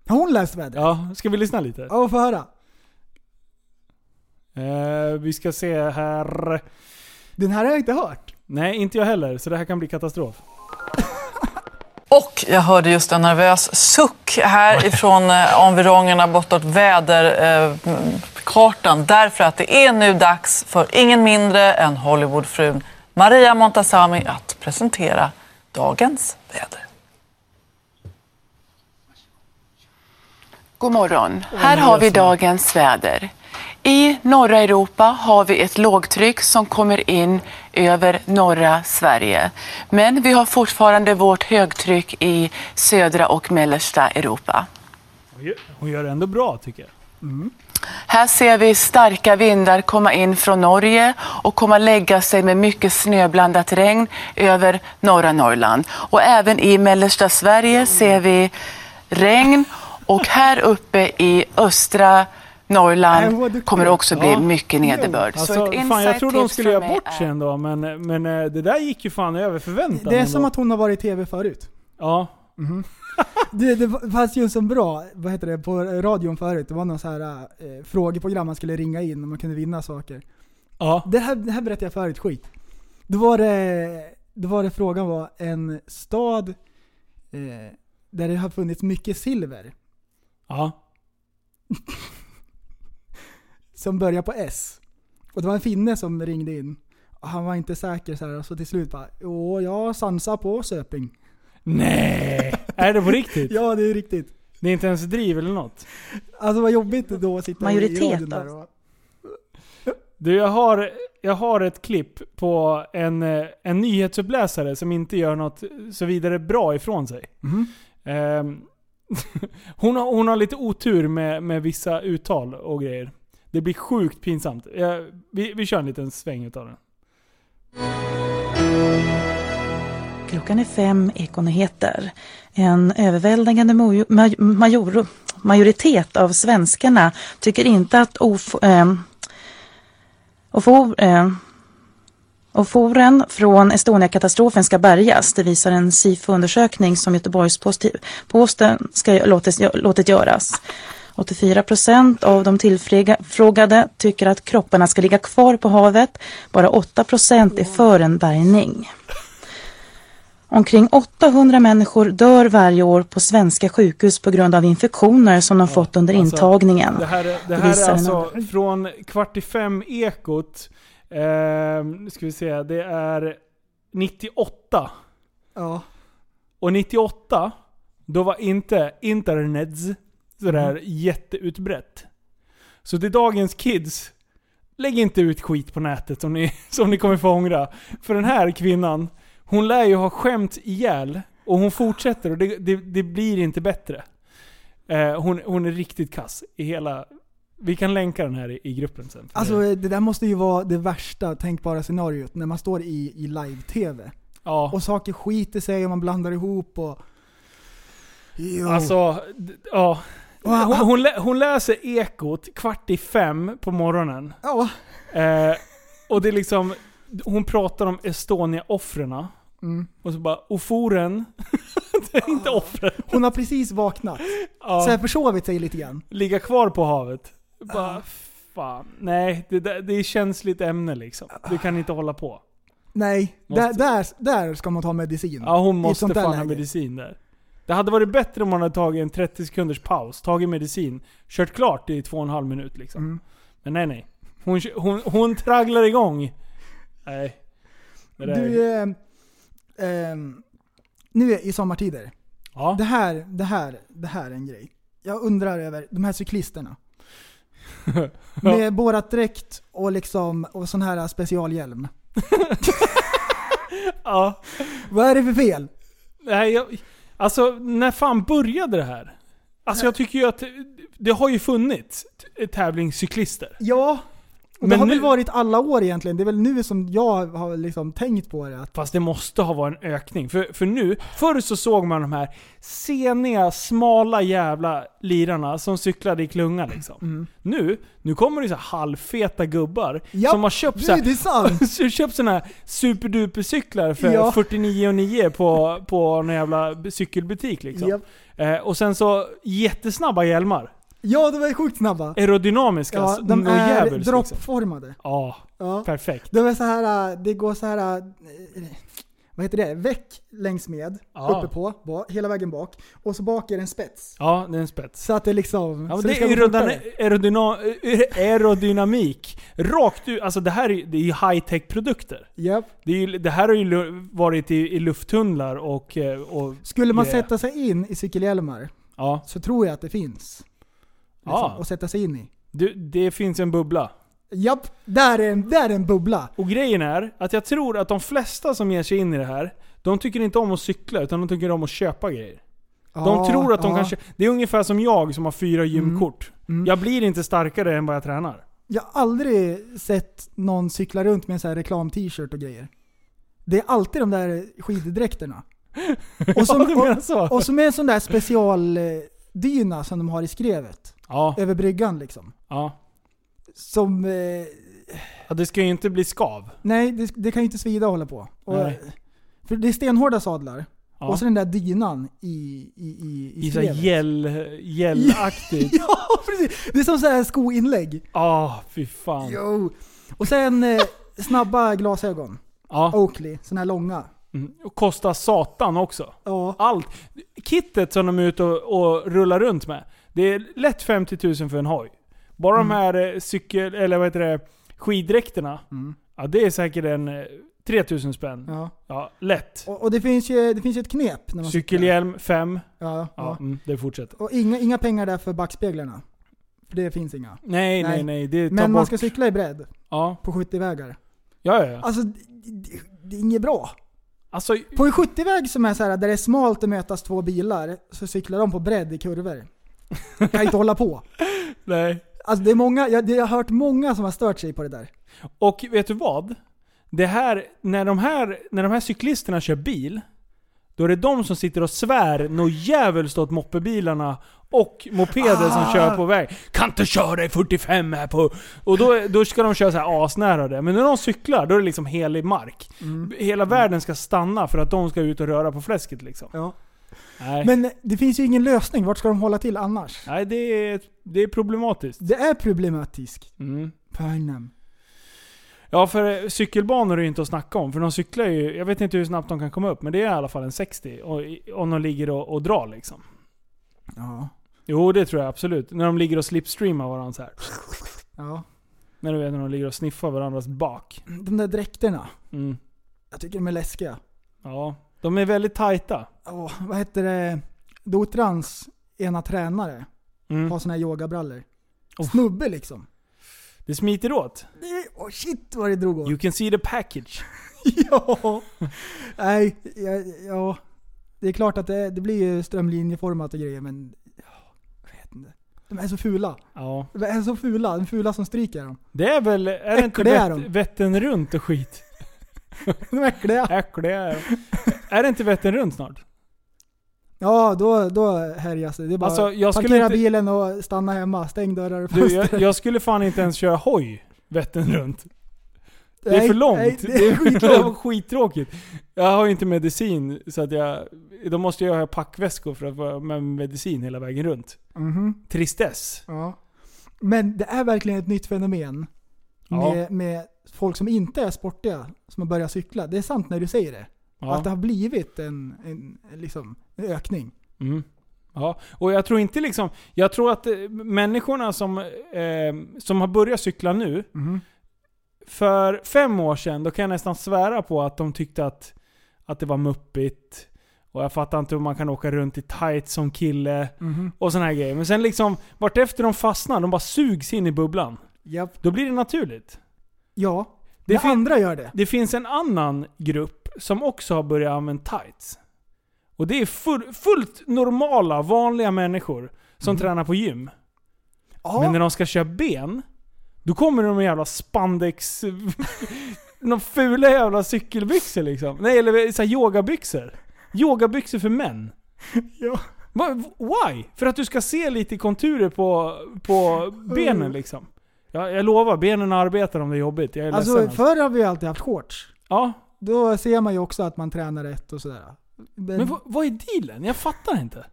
Har hon läst vädret?
Ja, ska vi lyssna lite?
Ja, få höra.
Eh, vi ska se här.
Den här har jag inte hört.
Nej, inte jag heller, så det här kan bli katastrof.
Och jag hörde just en nervös suck här ifrån eh, environgerna bortåt väderkartan. Eh, m- kartan. därför att det är nu dags för ingen mindre än Hollywoodfrun Maria Montazami att presentera dagens väder.
God morgon. Här har vi dagens väder. I norra Europa har vi ett lågtryck som kommer in över norra Sverige. Men vi har fortfarande vårt högtryck i södra och mellersta Europa.
Hon gör- Hon gör det ändå bra tycker jag.
Här ser vi starka vindar komma in från Norge och komma lägga sig med mycket snöblandat regn över norra Norrland. Och även i mellersta Sverige ser vi regn och här uppe i östra
Nej, vad
Norrland
duktig.
kommer det också bli
Äh, Ja.
mycket nederbörd. Så
Alltså,
ett
fan, jag
insight
trodde hon
tips
skulle
från
göra
mig
bort sig
är-
ändå, men, men eh, det där gick ju fan över förväntan.
Det är som
ändå.
att hon har varit i TV förut.
Ja.
Det, det fanns ju en sån bra, vad heter det, på radion förut. Det var någon så här eh, frågeprogram man skulle ringa in och man kunde vinna saker.
Ja.
Det här, det här berättade jag förut, skit. Då var det, då var det frågan var en stad eh, där det har funnits mycket silver
Ja.
som börjar på S. Och det var en finne som ringde in. Och han var inte säker så här, och så till slut bara Åh, jag sansar på Söping.
Nej! är det på riktigt?
<laughs> Ja, det är riktigt.
Det är inte ens driv eller något?
Alltså vad jobbigt då att sitta i
Majoritet
radion där.
av-
Och,
Du, jag har, jag har ett klipp på en, eh, en nyhetsuppläsare som inte gör något så vidare bra ifrån sig. Ehm, <laughs> hon, har, hon har lite otur med, med vissa uttal och grejer. Det blir sjukt pinsamt. Jag, vi, vi kör en liten sväng utav den.
Klockan är fem ekonyheter. En överväldigande mojo- maj- major, majoritet av svenskarna tycker inte att of, eh, ofor, eh, oforen från Estonia-katastrofen ska bärgas. Det visar en SIFO-undersökning som Göteborgs-Posten ska låtit, låtit göras. 84 procent av de tillfrågade tycker att kropparna ska ligga kvar på havet. Bara 8 procent är för en bärgning. Omkring 800 människor dör varje år på svenska sjukhus på grund av infektioner som de fått under
alltså,
intagningen.
Det här, är- det
Det
här är
visar en
alltså från kvart i fem ekot. Ehm, nu ska vi se, det är 98.
ja.
Och 98, då var inte internets sådär jätteutbrett. Så till dagens kids, lägg inte ut skit på nätet som ni, <laughs> som ni kommer få ångra. För den här kvinnan, hon lär ju ha skämt ihjäl. Och hon fortsätter och det, det, det blir inte bättre. Eh, hon, hon är riktigt kass i hela... Vi kan länka den här i, i gruppen sen. För
Alltså
det-
eh, det där måste ju vara det värsta tänkbara scenariot när man står i, i live-tv.
ja.
Och saker skiter sig och man blandar ihop och... Jo.
Alltså, d- ja.
Och han-
Hon, hon, lä, hon läser Ekot kvart i fem på morgonen.
ja.
Eh, och det är liksom, hon pratar om Estonia-offren.
Mm.
Och så bara, oforen. <laughs> det är inte offren.
Hon har precis vaknat.
Ja,
Så här försovit sig lite grann.
ligga kvar på havet. Bara, fan. Nej, det, där- det är känsligt ämne liksom. Du kan inte hålla på.
Nej,
Måste-
där, där, där ska man ta medicin.
Ja, hon
Mm. I ett
måste
sånt där
fan ha
läge.
medicin där. Det hade varit bättre om hon hade tagit en 30 sekunders paus, tagit medicin, kört klart i två och en halv minut liksom.
Mm.
Men nej nej. Hon, hon, hon tragglar igång. Nej. Det där-
Du, eh, ehm, nu är i sommartider.
ja.
Det här, det här, det här är en grej. jag undrar över de
<laughs>
här cyklisterna. Med borat dräkt och liksom, och sån här specialhjälm.
Ja.
Vad är det för fel?
Nej, jag, alltså när fan började det här? Alltså jag tycker ju att det har ju funnits t- tävlingscyklister.
Ja. Och det
Men
har
nu-
väl varit alla år egentligen. Det är väl nu som jag har liksom tänkt på det. Att,
Fast det måste ha varit en ökning. För, för nu, förr så såg man de här seniga, smala jävla lirarna som cyklade i klunga liksom.
Mm.
Nu, nu kommer det så här halvfeta gubbar
Japp,
som har köpt
nu
så här,
är det sant.
som köpt såna här superdupercyklar för
Ja.
49,9 på, på någon jävla b- cykelbutik <laughs> liksom.
Japp.
Eh, och sen så jättesnabba hjälmar.
ja, de är sjukt snabba.
Aerodynamiska.
Ja,
så-
de
något
är
djävulskt, liksom.
droppformade.
Ja,
Ja.
perfekt.
De är så här, äh, det går så här, äh, vad heter det? Väck längs med,
Ja.
uppe på, ba, hela vägen bak. Och så bak är det en spets.
Ja, det är en spets.
Så att det liksom...
Ja, men
så
det
ska
är
gå fortare.
aerodyn- aerodyna- aer- aerodynamik. Rakt ut. Alltså det här är, ju- det är ju high-tech produkter.
Japp.
Det, är ju, det här har ju lu- varit i, i lufttunnlar och, eh, och...
Skulle man
grejer.
sätta sig in i cykelhjälmar
Ja.
så tror jag att det finns. Liksom,
Ja.
Att sätta sig in i.
Du, det finns en bubbla.
Japp, där är, en, där är en bubbla.
Och grejen är att jag tror att de flesta som ger sig in i det här, de tycker inte om att cykla utan de tycker om att köpa grejer.
Ja,
de tror att de
ja. Mm.
kanske... Det är ungefär som jag som har fyra gymkort. Jag blir inte starkare än vad jag tränar.
Jag har aldrig sett någon cykla runt med en sån här reklam-t-shirt och grejer. Det är alltid de där skiddräkterna. Och
<laughs>
som,
Ja, du menar så.
Och, och som är en sån där specialdyna som de har i skrevet.
Ja.
Över bryggan liksom.
Ja.
Som... Eh,
ja det ska ju inte bli skav.
nej, det, det kan ju inte svida att hålla på. Och,
Nej.
för det är stenhårda sadlar.
Ja.
Och så den där dynan i, i, i, i
I såhär
skrevet.
gäll, <laughs> gällaktigt.
<laughs> ja, precis! Det är som så här skoinlägg.
Ah, fy fan.
Jo. Och sen eh, snabba glasögon.
Ja.
Oakley, såna här långa.
Mm. Och kostar satan också.
Ja.
Allt. Kittet som de är ute och, och rullar runt med. Det är lätt 50 000 för en hoj. Bara de här eh, cykel, eller vad heter det, skiddräkterna. Ja, det är säkert en eh, 3000 spänn.
Ja.
lätt.
Och, och det, finns ju, det finns ju ett knep. När man
Cykelhjälm 5.
Ja, ja.
Mm, det fortsätter.
Och inga, inga pengar där för backspeglarna. För det finns inga.
Nej, nej, nej, det tar
Men man
bort-
ska cykla i bredd.
Ja.
På 70-vägar.
Ja, ja, ja.
Alltså, det, det, det är inget bra.
Alltså,
På en 70-väg som är så här, där det är smalt att mötas två bilar, så cyklar de på bredd i kurvor. Kan inte hålla på.
nej.
Alltså det är många, jag, det, jag har hört många som har stört sig på det där.
Och vet du vad? Det här, när, de här, när de här cyklisterna kör bil, då är det de som sitter och svär något djävulskt åt moppebilarna och mopeder som
Ah.
kör på väg. Kan inte köra i 45 här på... Och då, då ska de köra så här asnära det. Men när de cyklar, då är det liksom helig mark. Hela världen ska stanna för att de ska ut och röra på fläsket liksom. Nej.
Men det finns ju ingen lösning, vart ska de hålla till annars?
Nej, det är, det är problematiskt.
Det är problematiskt. H&M.
Mm.
Pärnam.
Ja, för eh, cykelbanor är ju inte att snacka om. För de cyklar ju, jag vet inte hur snabbt de kan komma upp, men det är i alla fall en 60. Och, i- om de ligger och, och drar liksom.
Ja.
Jo, det tror jag absolut. När de ligger och slipstreamar varandra så här.
Ja.
När du vet när de ligger och sniffar varandras bak.
De där dräkterna.
Mm.
Jag tycker de är läskiga.
Ja. De är väldigt tajta.
Ja, vad heter det? Dotrans ena tränare
Mm.
har såna här yogabrallor. Snubbe liksom.
Det smiter åt.
Det- Åh shit vad det drog åt.
You can see the package.
<laughs> ja. Nej, ja, ja. Det är klart att det, det blir ju strömlinjeformat och grejer men... Ja, jag vet inte. De är så fula.
Ja.
De är så fula. De fula som stryker dem.
Det är väl, är det inte
Äckliga är
vett,
de.
Vättern runt och skit?
<laughs> de är äckliga.
Äckliga är de. Är det inte Vättern runt snart?
Ja, då, då härjas det. Det är bara
Alltså, jag skulle
parkera
inte-
bilen och stanna hemma. Stäng dörrar och
Du, jag,
fönster.
jag skulle fan inte ens köra hoj Vättern runt. Det är
Nej,
för långt.
nej, det är
<laughs>
skitlångt.
det var skittråkigt. Jag har ju inte medicin, så att jag... Då måste jag ha packväskor för att vara med medicin hela vägen runt.
Mhm.
Tristess.
Ja. Men det är verkligen ett nytt fenomen.
Ja.
Med, med folk som inte är sportiga, som har börjat cykla. Det är sant när du säger det.
Ja.
Att det har blivit en, en, en, liksom, en ökning.
Mm. Ja, och jag tror inte liksom... Jag tror att eh, människorna som, eh, som har börjat cykla nu, för fem år sedan, då kan jag nästan svära på att de tyckte att, att det var muppigt. Och jag fattar inte hur man kan åka runt i tights som kille. Och såna här grejer. Men sen liksom, vartefter de fastnar, de bara sugs in i bubblan. Då blir det naturligt.
Ja. Det när andra gör det.
Det finns en annan grupp som också har börjat använda tights. Och det är full, fullt normala, vanliga människor som tränar på gym. Men när de ska köra ben, då kommer de med jävla spandex... <laughs> någon fula jävla cykelbyxor liksom. Nej, eller så här yogabyxor. Yogabyxor för män.
Ja.
Va- Why? För att du ska se lite konturer på, på benen liksom. Jag, jag lovar, benen arbetar om det är jobbigt. Jag är ledsen.
Alltså
Alltså.
förr har vi ju alltid haft shorts.
Ja.
Då ser man ju också att man tränar rätt och sådär.
Men vad, vad är dealen? Jag fattar inte.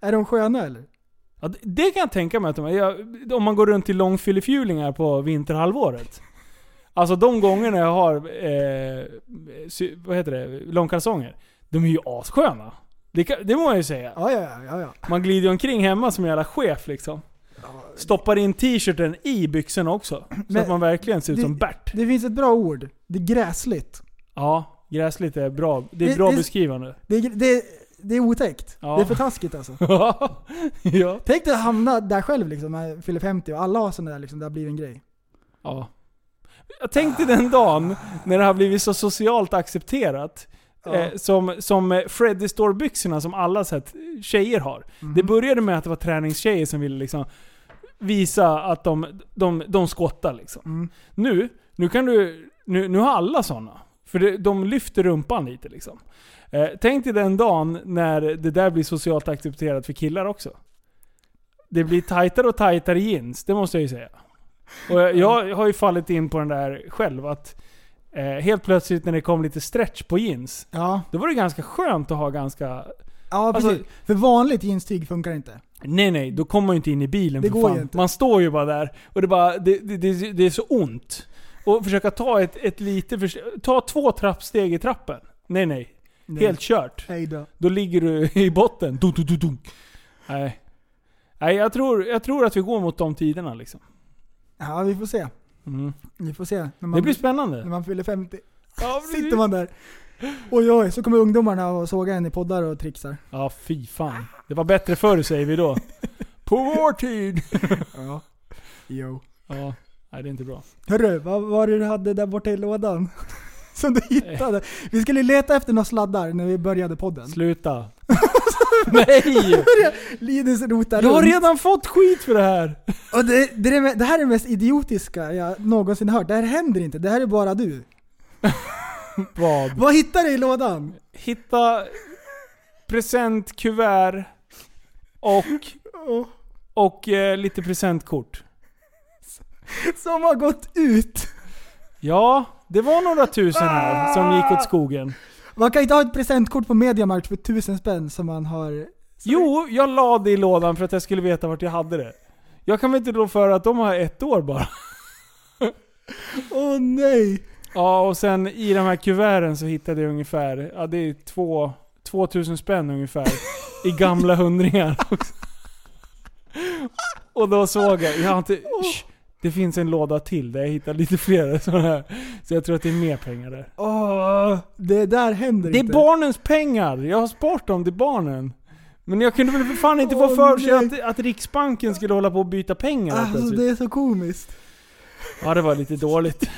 Är de sköna eller?
Ja, det, det kan jag tänka mig att de är. Jag- Om man går runt i långfyllefjulingar på vinterhalvåret. Alltså de gångerna jag har eh, sy, vad heter det? långkalsonger, de är ju assköna. Det, kan, det må jag ju säga.
Ja, ja, ja, ja.
Man glider omkring hemma som en jävla chef liksom. Stoppar in t-shirten i byxorna också. Så
Men
att man verkligen ser ut
det-
som Bert.
Det finns ett bra ord. Det är gräsligt.
Ja, gräsligt är bra. Det
Det-
är bra
det-
beskrivande. <laughs>
Det är, det är, det är otäckt.
Ja.
Det är för taskigt alltså.
ja.
Tänk dig att hamna där själv liksom, när jag fyller 50 och alla har sådana där liksom, det har blivit en grej.
Ja. Jag tänkte den dagen när det har blivit så socialt accepterat.
Ja.
Eh, som, som eh, Freddy Store-byxorna som alla så här, tjejer har. Det
Mm.
började med att det var träningstjejer som ville liksom visa att de, de, de skottar liksom.
Mm.
Nu, nu kan du, nu, nu har alla sådana. För det, de lyfter rumpan lite liksom. Eh, tänk dig den dagen när det där blir socialt accepterat för killar också. Det blir tajtare och tajtare jeans, det måste jag ju säga. Och jag, jag har ju fallit in på den där själv att eh, helt plötsligt när det kom lite stretch på jeans, då var det ganska skönt att ha ganska...
Ja,
Alltså-
precis. för vanligt jeanstyg funkar inte.
Nej nej, då kommer man ju inte in i bilen
Det
för
går
fan.
ju inte.
Man står ju bara där och det, bara, det, det, det, det är så ont. Och försöka ta ett, ett lite... förs- Ta två trappsteg i trappen. Nej nej.
Nej.
Helt kört.
Hej då.
Då ligger du i botten. Dun, dun, dun, dun. Nej. Nej, jag tror, jag tror att vi går mot de tiderna liksom.
Ja, vi får se.
Mm.
Vi får se. När
Det blir spännande.
När man fyller 50.
Ja,
Sitter man där. Oj oj, så kommer ungdomarna och sågar en i poddar och trixar.
Ja, fy fan. Det var bättre förr säger vi
<laughs>
då. På vår tid!
ja. Jo.
Ja. Nej, det är inte bra.
Hörru, vad var det du hade där borta i lådan? <laughs> Som du hittade? Vi skulle leta efter några sladdar när vi började podden.
Sluta.
<laughs>
Nej!
Linus rotar
Jag har
runt.
redan fått skit för det här!
Och det, det, är det, me- det här är det mest idiotiska jag någonsin hört. Det här händer inte, det här är bara du.
Vad?
Vad hittar du i lådan?
Hitta presentkuvert och, och eh, lite presentkort.
Som har gått ut.
Ja, det var några tusen här som gick åt skogen.
Man kan inte ha ett presentkort på Mediamarkt för tusen spänn som man har...
Jo, jag la det i lådan för att jag skulle veta vart jag hade det. Jag kan väl inte rå för att de har ett år bara.
Åh nej!
Ja, och sen i de här kuverten så hittade jag ungefär, ja det är två, 2000 spänn ungefär. I gamla hundringar också. Och då såg jag, jag har inte, shh, det finns en låda till där jag hittar lite fler sådana här. Så jag tror att det är mer pengar där.
Åh, det där händer
Det är
inte.
barnens pengar! Jag har sparat dem till barnen. Men jag kunde väl för fan inte få
Åh,
för sig
nej.
att, att Riksbanken skulle hålla på och byta pengar helt
Alltså
plötsligt.
det är så komiskt.
Ja, det var lite dåligt.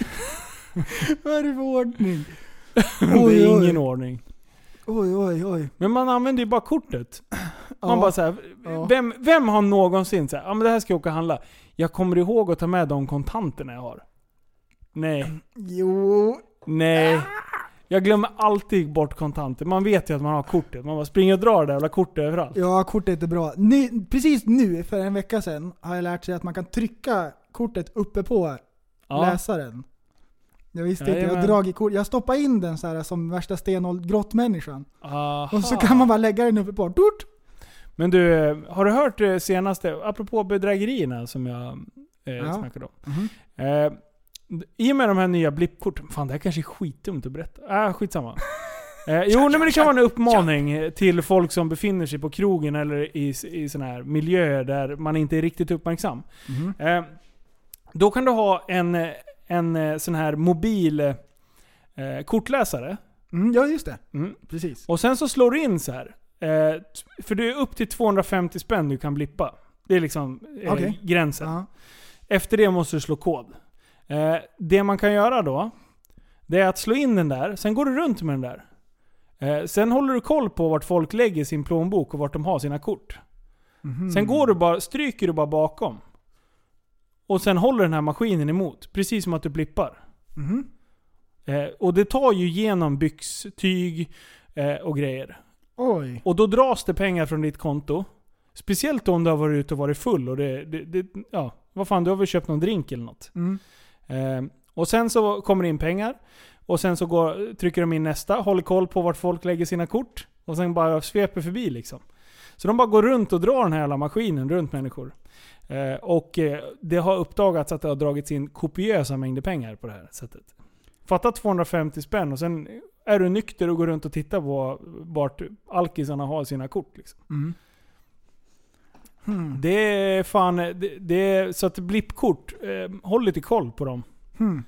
Vad är det för ordning?
<laughs> det
Oj,
är
oj.
ingen ordning.
Oj oj oj.
Men man använder ju bara kortet. Man
Ja.
bara såhär,
Ja.
vem, vem har någonsin såhär, ja men det här ska jag åka och handla. Jag kommer ihåg att ta med de kontanterna jag har. Nej.
Jo.
Nej. Jag glömmer alltid bort kontanter. Man vet ju att man har kortet. Man bara springer och drar det där jävla kortet överallt.
Ja, kortet är bra. Nu, precis nu, för en vecka sedan, har jag lärt sig att man kan trycka kortet uppe på
Ja.
läsaren. Jag visste inte, jag har
Jajamän.
dragit kort. Jag stoppar in den så här som värsta stenåldersgrottmänniskan.
Aha.
Och så kan man bara lägga den uppe på. Tort!
Men du, har du hört det senaste, apropå bedrägerierna som jag eh,
Ja.
snackade om. Eh, d- I och med de här nya blippkorten, fan det här kanske är skitdumt att berätta. Äh, skitsamma. Eh, jo, nej, men det kan vara en uppmaning till folk som befinner sig på krogen eller i, s- i sådana här miljöer där man inte är riktigt uppmärksam. Eh, då kan du ha en, eh, en eh, sån här mobil eh, kortläsare
Mm, ja, just det.
Mm.
Precis.
Och sen så slår du in så här. Eh, t- för det är upp till 250 spänn du kan blippa. Det är liksom eh,
Okej.
gränsen. Efter det måste du slå kod. Eh, det man kan göra då, det är att slå in den där, sen går du runt med den där. Eh, sen håller du koll på vart folk lägger sin plånbok och vart de har sina kort.
Mhm.
Sen går du bara, stryker du bara bakom. Och sen håller den här maskinen emot, precis som att du blippar.
Mhm.
Eh, och det tar ju genom byxtyg eh, och grejer.
Oj.
Och då dras det pengar från ditt konto. Speciellt om du har varit ute och varit full och det, det, det ja, vad fan, du har väl köpt någon drink eller något.
Mm.
Eh, och sen så kommer det in pengar. Och sen så går, trycker de in nästa, håller koll på vart folk lägger sina kort. Och sen bara sveper förbi liksom. Så de bara går runt och drar den här jävla maskinen runt människor. Eh, och eh, det har uppdagats att det har dragits in kopiösa mängder pengar på det här sättet. Fatta 250 spänn och sen är du nykter och går runt och tittar på vart alkisarna har sina kort. Liksom.
Mm. Hmm.
Det är fan... Det, det är, så att blippkort, eh, håll lite koll på dem.
Hmm.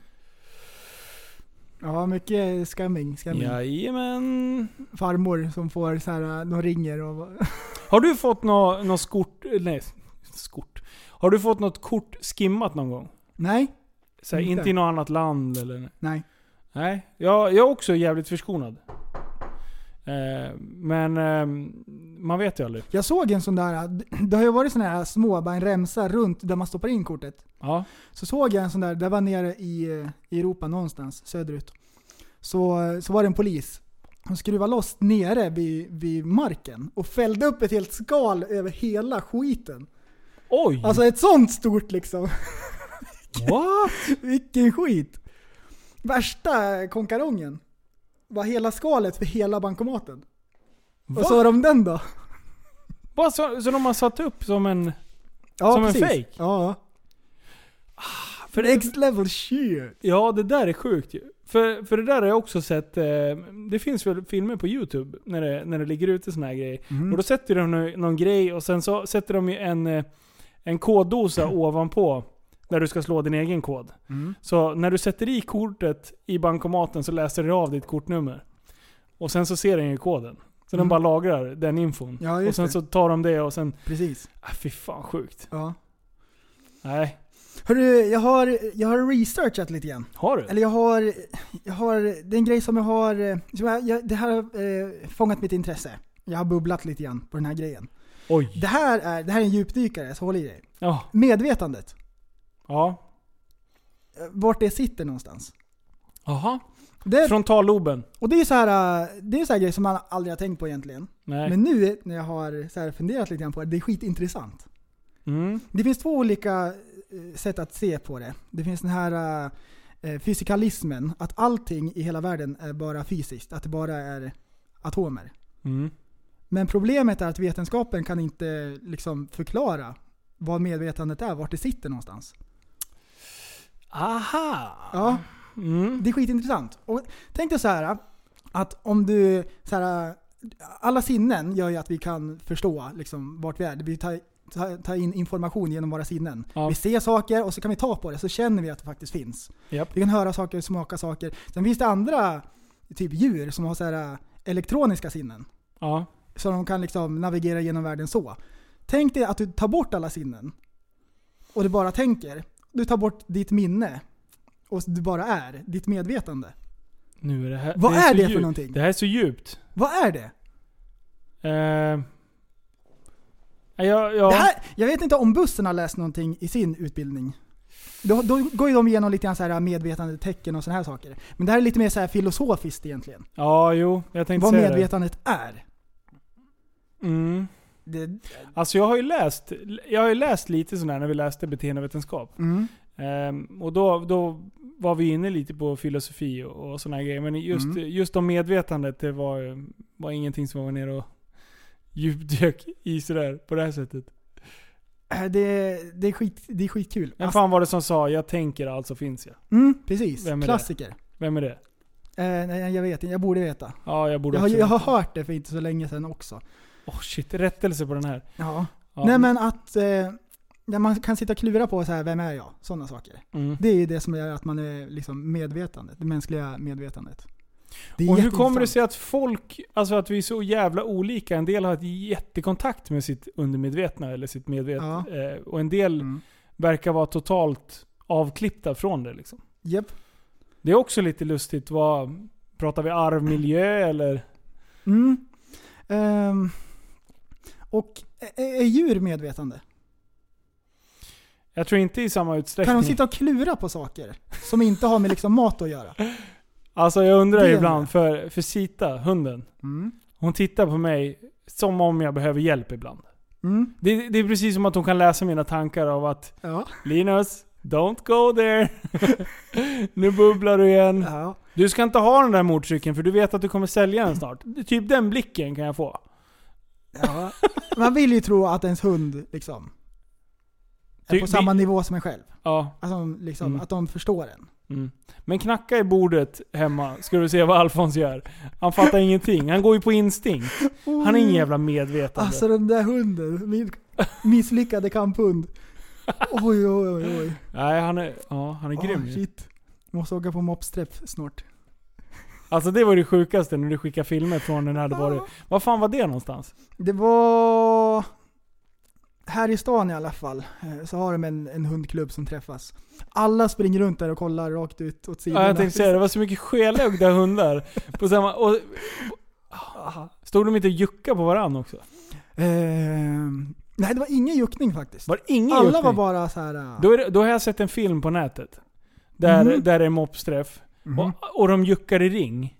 Ja, mycket scamming. scamming.
Jajamän.
Farmor som får så här, de ringer och... <laughs>
Har du fått något nå skort... Nej, skort. Har du fått något kort skimmat någon gång?
Nej.
Så här,
Inte.
inte i något annat land eller?
Nej.
Nej. Jag, jag är också jävligt förskonad. Eh, men eh, man vet ju aldrig.
Jag såg en sån där, det har ju varit såna här små, bara en remsa runt där man stoppar in kortet.
Ja.
Så såg jag en sån där, det var nere i, i Europa någonstans, söderut. Så, så var det en polis. Hon skruvade loss nere vid, vid marken och fällde upp ett helt skal över hela skiten.
Oj!
Alltså ett sånt stort liksom. <laughs>
What?
Vilken skit! Värsta konkarongen. Var hela skalet för hela bankomaten.
Va?
Vad sa de om den då?
Bara så, så de har satt upp som en...
Ja,
som
precis.
en fake? Ah,
Ja.
För
Next level shit.
Ja, det där är sjukt ju. För, för det där har jag också sett, eh, det finns väl filmer på youtube när det, när det ligger ute såna här grejer.
Mm.
Och då sätter de nu någon grej och sen så sätter de ju en, eh, en koddosa ovanpå. Där du ska slå din egen kod.
Mm.
Så när du sätter i kortet i bankomaten så läser det av ditt kortnummer. Och sen så ser den ju koden. Så den
Mm.
bara lagrar den infon.
Ja, just
och sen
det.
så tar de det och sen...
Precis.
Ah, fy fan sjukt.
Ja.
Nej.
Hörru, jag har, jag har researchat lite grann.
Har du?
Eller jag har, jag har, det är en grej som jag har, eh, som jag, jag, det här har eh, fångat mitt intresse. Jag har bubblat lite grann på den här grejen.
Oj.
Det här är, det här är en djupdykare, så håll i dig.
Ja.
Medvetandet.
Ja.
Vart det sitter någonstans.
Jaha.
Det,
Frontalloben.
och det är ju så här, eh, det är en sån här grej som man aldrig har tänkt på egentligen.
Nej.
Men nu när jag har så här funderat lite grann på det, det är skitintressant.
Mm.
Det finns två olika eh, sätt att se på det. Det finns den här eh, fysikalismen, att allting i hela världen är bara fysiskt, att det bara är atomer.
Mm.
Men problemet är att vetenskapen kan inte liksom förklara vad medvetandet är, vart det sitter någonstans.
Aha!
Ja.
Mm.
Det är skitintressant. Och tänk dig så här att om du... Så här, alla sinnen gör ju att vi kan förstå liksom, vart vi är. Vi tar, tar, tar in information genom våra sinnen.
Ja.
Vi ser saker och så kan vi ta på det, så känner vi att det faktiskt finns.
Japp.
Vi kan höra saker, smaka saker. Sen finns det andra typ djur som har så här, elektroniska sinnen.
Ja.
Så de kan liksom navigera genom världen så. Tänk dig att du tar bort alla sinnen. Och du bara tänker. Du tar bort ditt minne. Och du bara är. Ditt medvetande.
Nu är det här...
Vad är
så
det för
djupt.
någonting?
Det här är så djupt.
Vad är det?
Eh, jag, jag,
det här, jag vet inte om bussen har läst någonting i sin utbildning. Då, då går ju de igenom lite grann så här medvetandetecken och sådana här saker. Men det här är lite mer så här filosofiskt egentligen.
Ja, jo. Jag tänkte
Vad
säga
medvetandet är.
det. Mm.
det.
Alltså jag har ju läst, jag har ju läst lite sån här när vi läste beteendevetenskap.
Mm.
Ehm, och då, då var vi inne lite på filosofi och, och såna här grejer. Men just,
Mm.
just om medvetandet, det var, var ingenting som var nere och djupdök i sådär på det här sättet.
Äh, Det, det, är, skit, det är skitkul.
Vem fan var det som sa 'Jag tänker, alltså finns jag'?
Mm, precis.
Vem är det?
Klassiker.
Vem är det?
Eh, nej, jag vet inte. Jag borde veta.
Ja, jag borde
jag, har,
också
jag har
veta.
hört det för inte så länge sedan också.
Åh shit, rättelse på den här.
Ja.
Ja.
Nej men att eh, när man kan sitta och klura på så här, vem är jag? Sådana saker.
Mm.
Det är ju det som gör att man är liksom medvetandet, det mänskliga medvetandet. Det är
Och hur
jätteintressant.
kommer det sig att folk, alltså att vi är så jävla olika? En del har ett jättekontakt med sitt undermedvetna eller sitt medvetna.
Ja.
Eh, och en del
Mm.
verkar vara totalt avklippta från det liksom.
Japp.
Det är också lite lustigt. Vad, pratar vi arvmiljö eller?
Mm. Ehm, och är, är djur medvetande?
Jag tror inte i samma utsträckning.
Kan de sitta och klura på saker som inte har med liksom mat
<laughs>
att göra?
Alltså jag undrar
Det
ju
är
ibland för, för Sita, hunden.
Mm.
Hon tittar på mig som om jag behöver hjälp ibland.
Mm.
Det, det är precis som att hon kan läsa mina tankar av att Linus, don't go there. <laughs> nu bubblar du igen. Du ska inte ha den där motorcykeln för du vet att du kommer sälja den snart. Typ den blicken kan jag få.
Ja. Man vill ju tro att ens hund liksom är
Ty-
på samma nivå som en själv.
Ja.
Att de, liksom,
Mm.
att de förstår en.
Mm. Men knacka i bordet hemma, ska du se vad Alfons gör. Han fattar ingenting. Han går ju på instinkt. Han är ingen jävla medvetande.
Alltså den där hunden, min misslyckade kamphund. Oj, oj, oj, oj.
Nej, han är, ja, han är
Ah,
grym ju.
shit. Måste åka på mopsträff snart.
Alltså det var det sjukaste när du skickade filmer från den här. Det var det, vad fan var det någonstans?
Det var... Här i stan i alla fall, eh, så har de en, en hundklubb som träffas. Alla springer runt där och kollar rakt ut åt sidorna.
Ja, jag tänkte säga det var så mycket skelögda hundar. På samma, och, stod de inte och juckade på varandra också?
Ehm, nej, det var ingen juckning faktiskt.
Var ingen
Alla
juckning?
var bara så här. eh,
Då, är, det- då har jag sett en film på nätet. Där,
Mhm. Mm.
där det är mobsträff.
Mm-hmm.
Och, och de juckar i ring.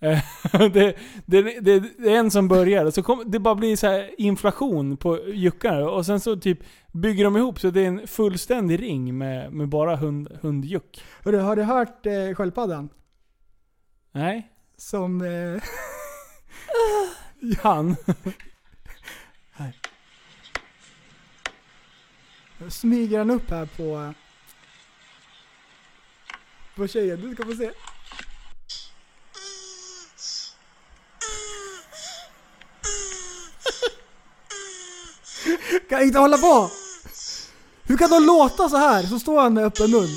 Eh, <laughs> det, det, det, det är en som börjar, så kom, det bara blir så här inflation på juckar och sen så typ bygger de ihop så det är en fullständig ring med, med bara hund, hundjuck.
Hörru, har du hört eh, sköldpaddan?
Nej?
Som... Eh, <laughs>
Han? <laughs>
smyger han upp här på... På tjejen, du ska få se. Kan inte hålla på! Hur kan de låta så här? Så står han med öppen mun.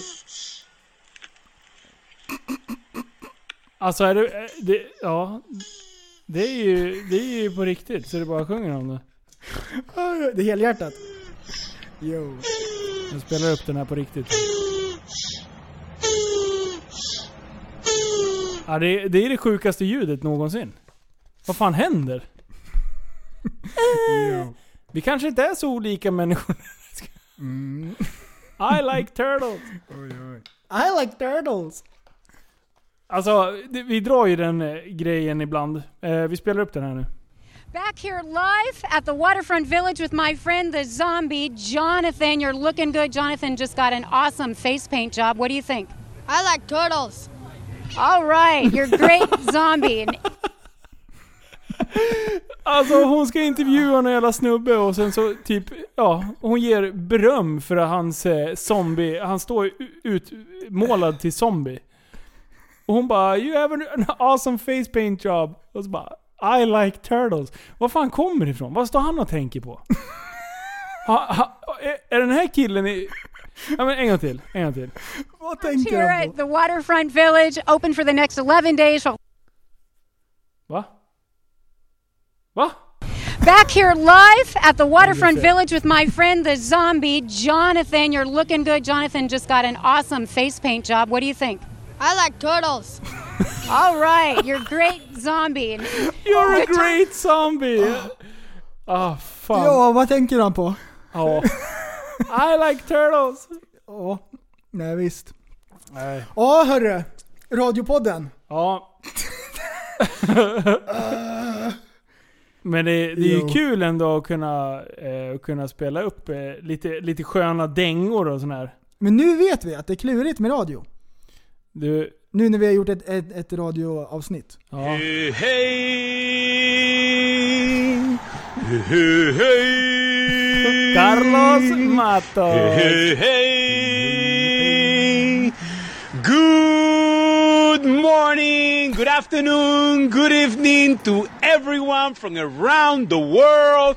Alltså är det, eh, det, ja. Det är ju, det är ju på riktigt så det bara sjunger om det.
Det är helhjärtat. Jo.
Jag spelar upp den här på riktigt. Ja, det, det är det sjukaste ljudet någonsin. Vad fan händer? Vi kanske inte är så olika människor. <laughs> I like turtles.
I like turtles.
Alltså, det, vi drar ju den eh, grejen ibland. Eh, vi spelar upp den här nu.
Back here live at the Waterfront Village with my friend the zombie Jonathan. You're looking good. Jonathan just got an awesome face paint job. What do you think? I like turtles. All right, you're <laughs> great zombie. And
Alltså hon ska intervjua någon jävla snubbe och sen så typ, ja, hon ger beröm för hans eh, zombie, han står ju ut- utmålad till zombie. Och hon bara 'You have an awesome face paint job' och så bara 'I like turtles' Var fan kommer det ifrån? Vad står han och tänker på? Ha, ha, är, är den här killen i... Ja men en gång till, en gång till.
What
here at the Waterfront Village, open for the next 11 days.
Va? Va?
Back here live at the Waterfront
shit.
Village with my friend the zombie Jonathan. You're looking good. Jonathan just got an awesome face paint job. What do you think? I like turtles. All right, you're great zombie. And
You're a great zombie! Ah, fan.
Ja, vad tänker han på?
Ja. <laughs> I like turtles!
Ja, nej visst.
Nej.
Ja hörru, radiopodden.
Ja. Men det, det är ju
Jo.
kul ändå att kunna, eh, kunna spela upp eh, lite, lite sköna dängor och sån här.
Men nu vet vi att det är klurigt med radio.
Du,
Nu när vi har gjort ett, ett, ett radioavsnitt.
ja.
Hej! Hej, hej!
Carlos
Mm.
Matos!
Hej, hej! Good morning, good afternoon, good evening to everyone from around the world.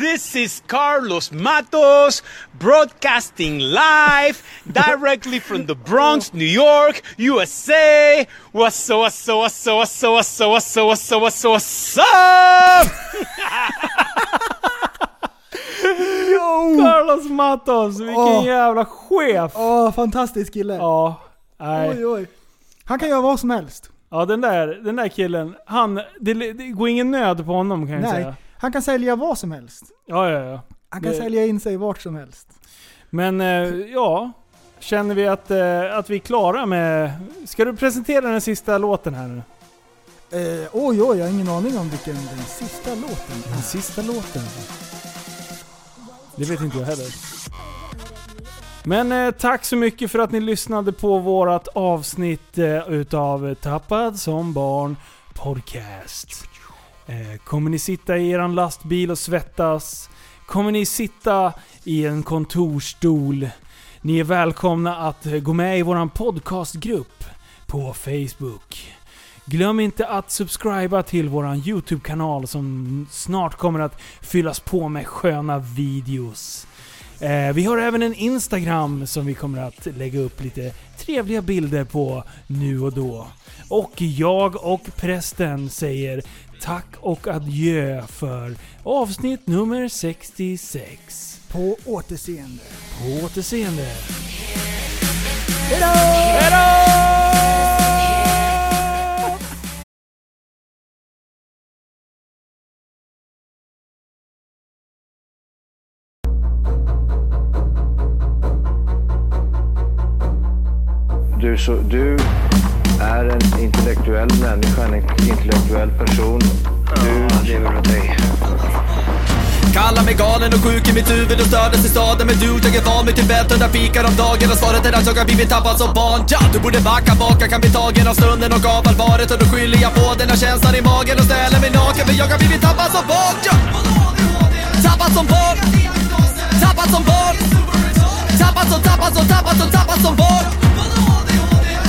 This is Carlos Matos broadcasting live directly from the Bronx, New York, USA. What's up, what's up, what's up, what's up, what's up, what's up, what's up, what's up, what's up?
Carlos Matos, vilken
Åh.
jävla chef!
Åh, fantastisk kille.
Ja, nej.
Oj, oj. Han kan göra vad som helst.
Ja, den där, den där killen. Han, det, det går ingen nöd på honom kan jag
Nej,
säga.
han kan sälja vad som helst.
Ja, ja, ja.
Han kan
Det-
sälja in sig vart som helst.
Men eh, ja, känner vi att, eh, att vi är klara med... Ska du presentera den sista låten här nu?
Eh, oj, oj, jag har ingen aning om vilken den sista låten Den
sista låten? Det vet inte jag heller. Men eh, tack så mycket för att ni lyssnade på vårat avsnitt eh, utav Tappad som barn podcast. Eh, kommer ni sitta i eran lastbil och svettas? Kommer ni sitta i en kontorstol? Ni är välkomna att eh, gå med i våran podcastgrupp på Facebook. Glöm inte att subscriba till våran YouTube-kanal som snart kommer att fyllas på med sköna videos. Eh, vi har även en Instagram som vi kommer att lägga upp lite trevliga bilder på nu och då. Och jag och prästen säger tack och adjö för avsnitt nummer 66.
På återseende.
På återseende.
Hejdå!
Du, så, du är en intellektuell människa, en intellektuell person. Du lever åt dig.
Kallar mig galen och sjuk i mitt huvud och stördes i staden Men du, jag är van vid Tibet och där fikar om dagen Och svaret är att jag har blivit tappad som barn ja, Du borde backa bak, jag kan bli tagen av stunden och av allvaret Och då skyller jag på den här känslan i magen och ställer mig naken För jag har blivit tappad som barn ja. Tappad som barn Tappad som barn Tappad som, tappad som, tappad som, tappad som barn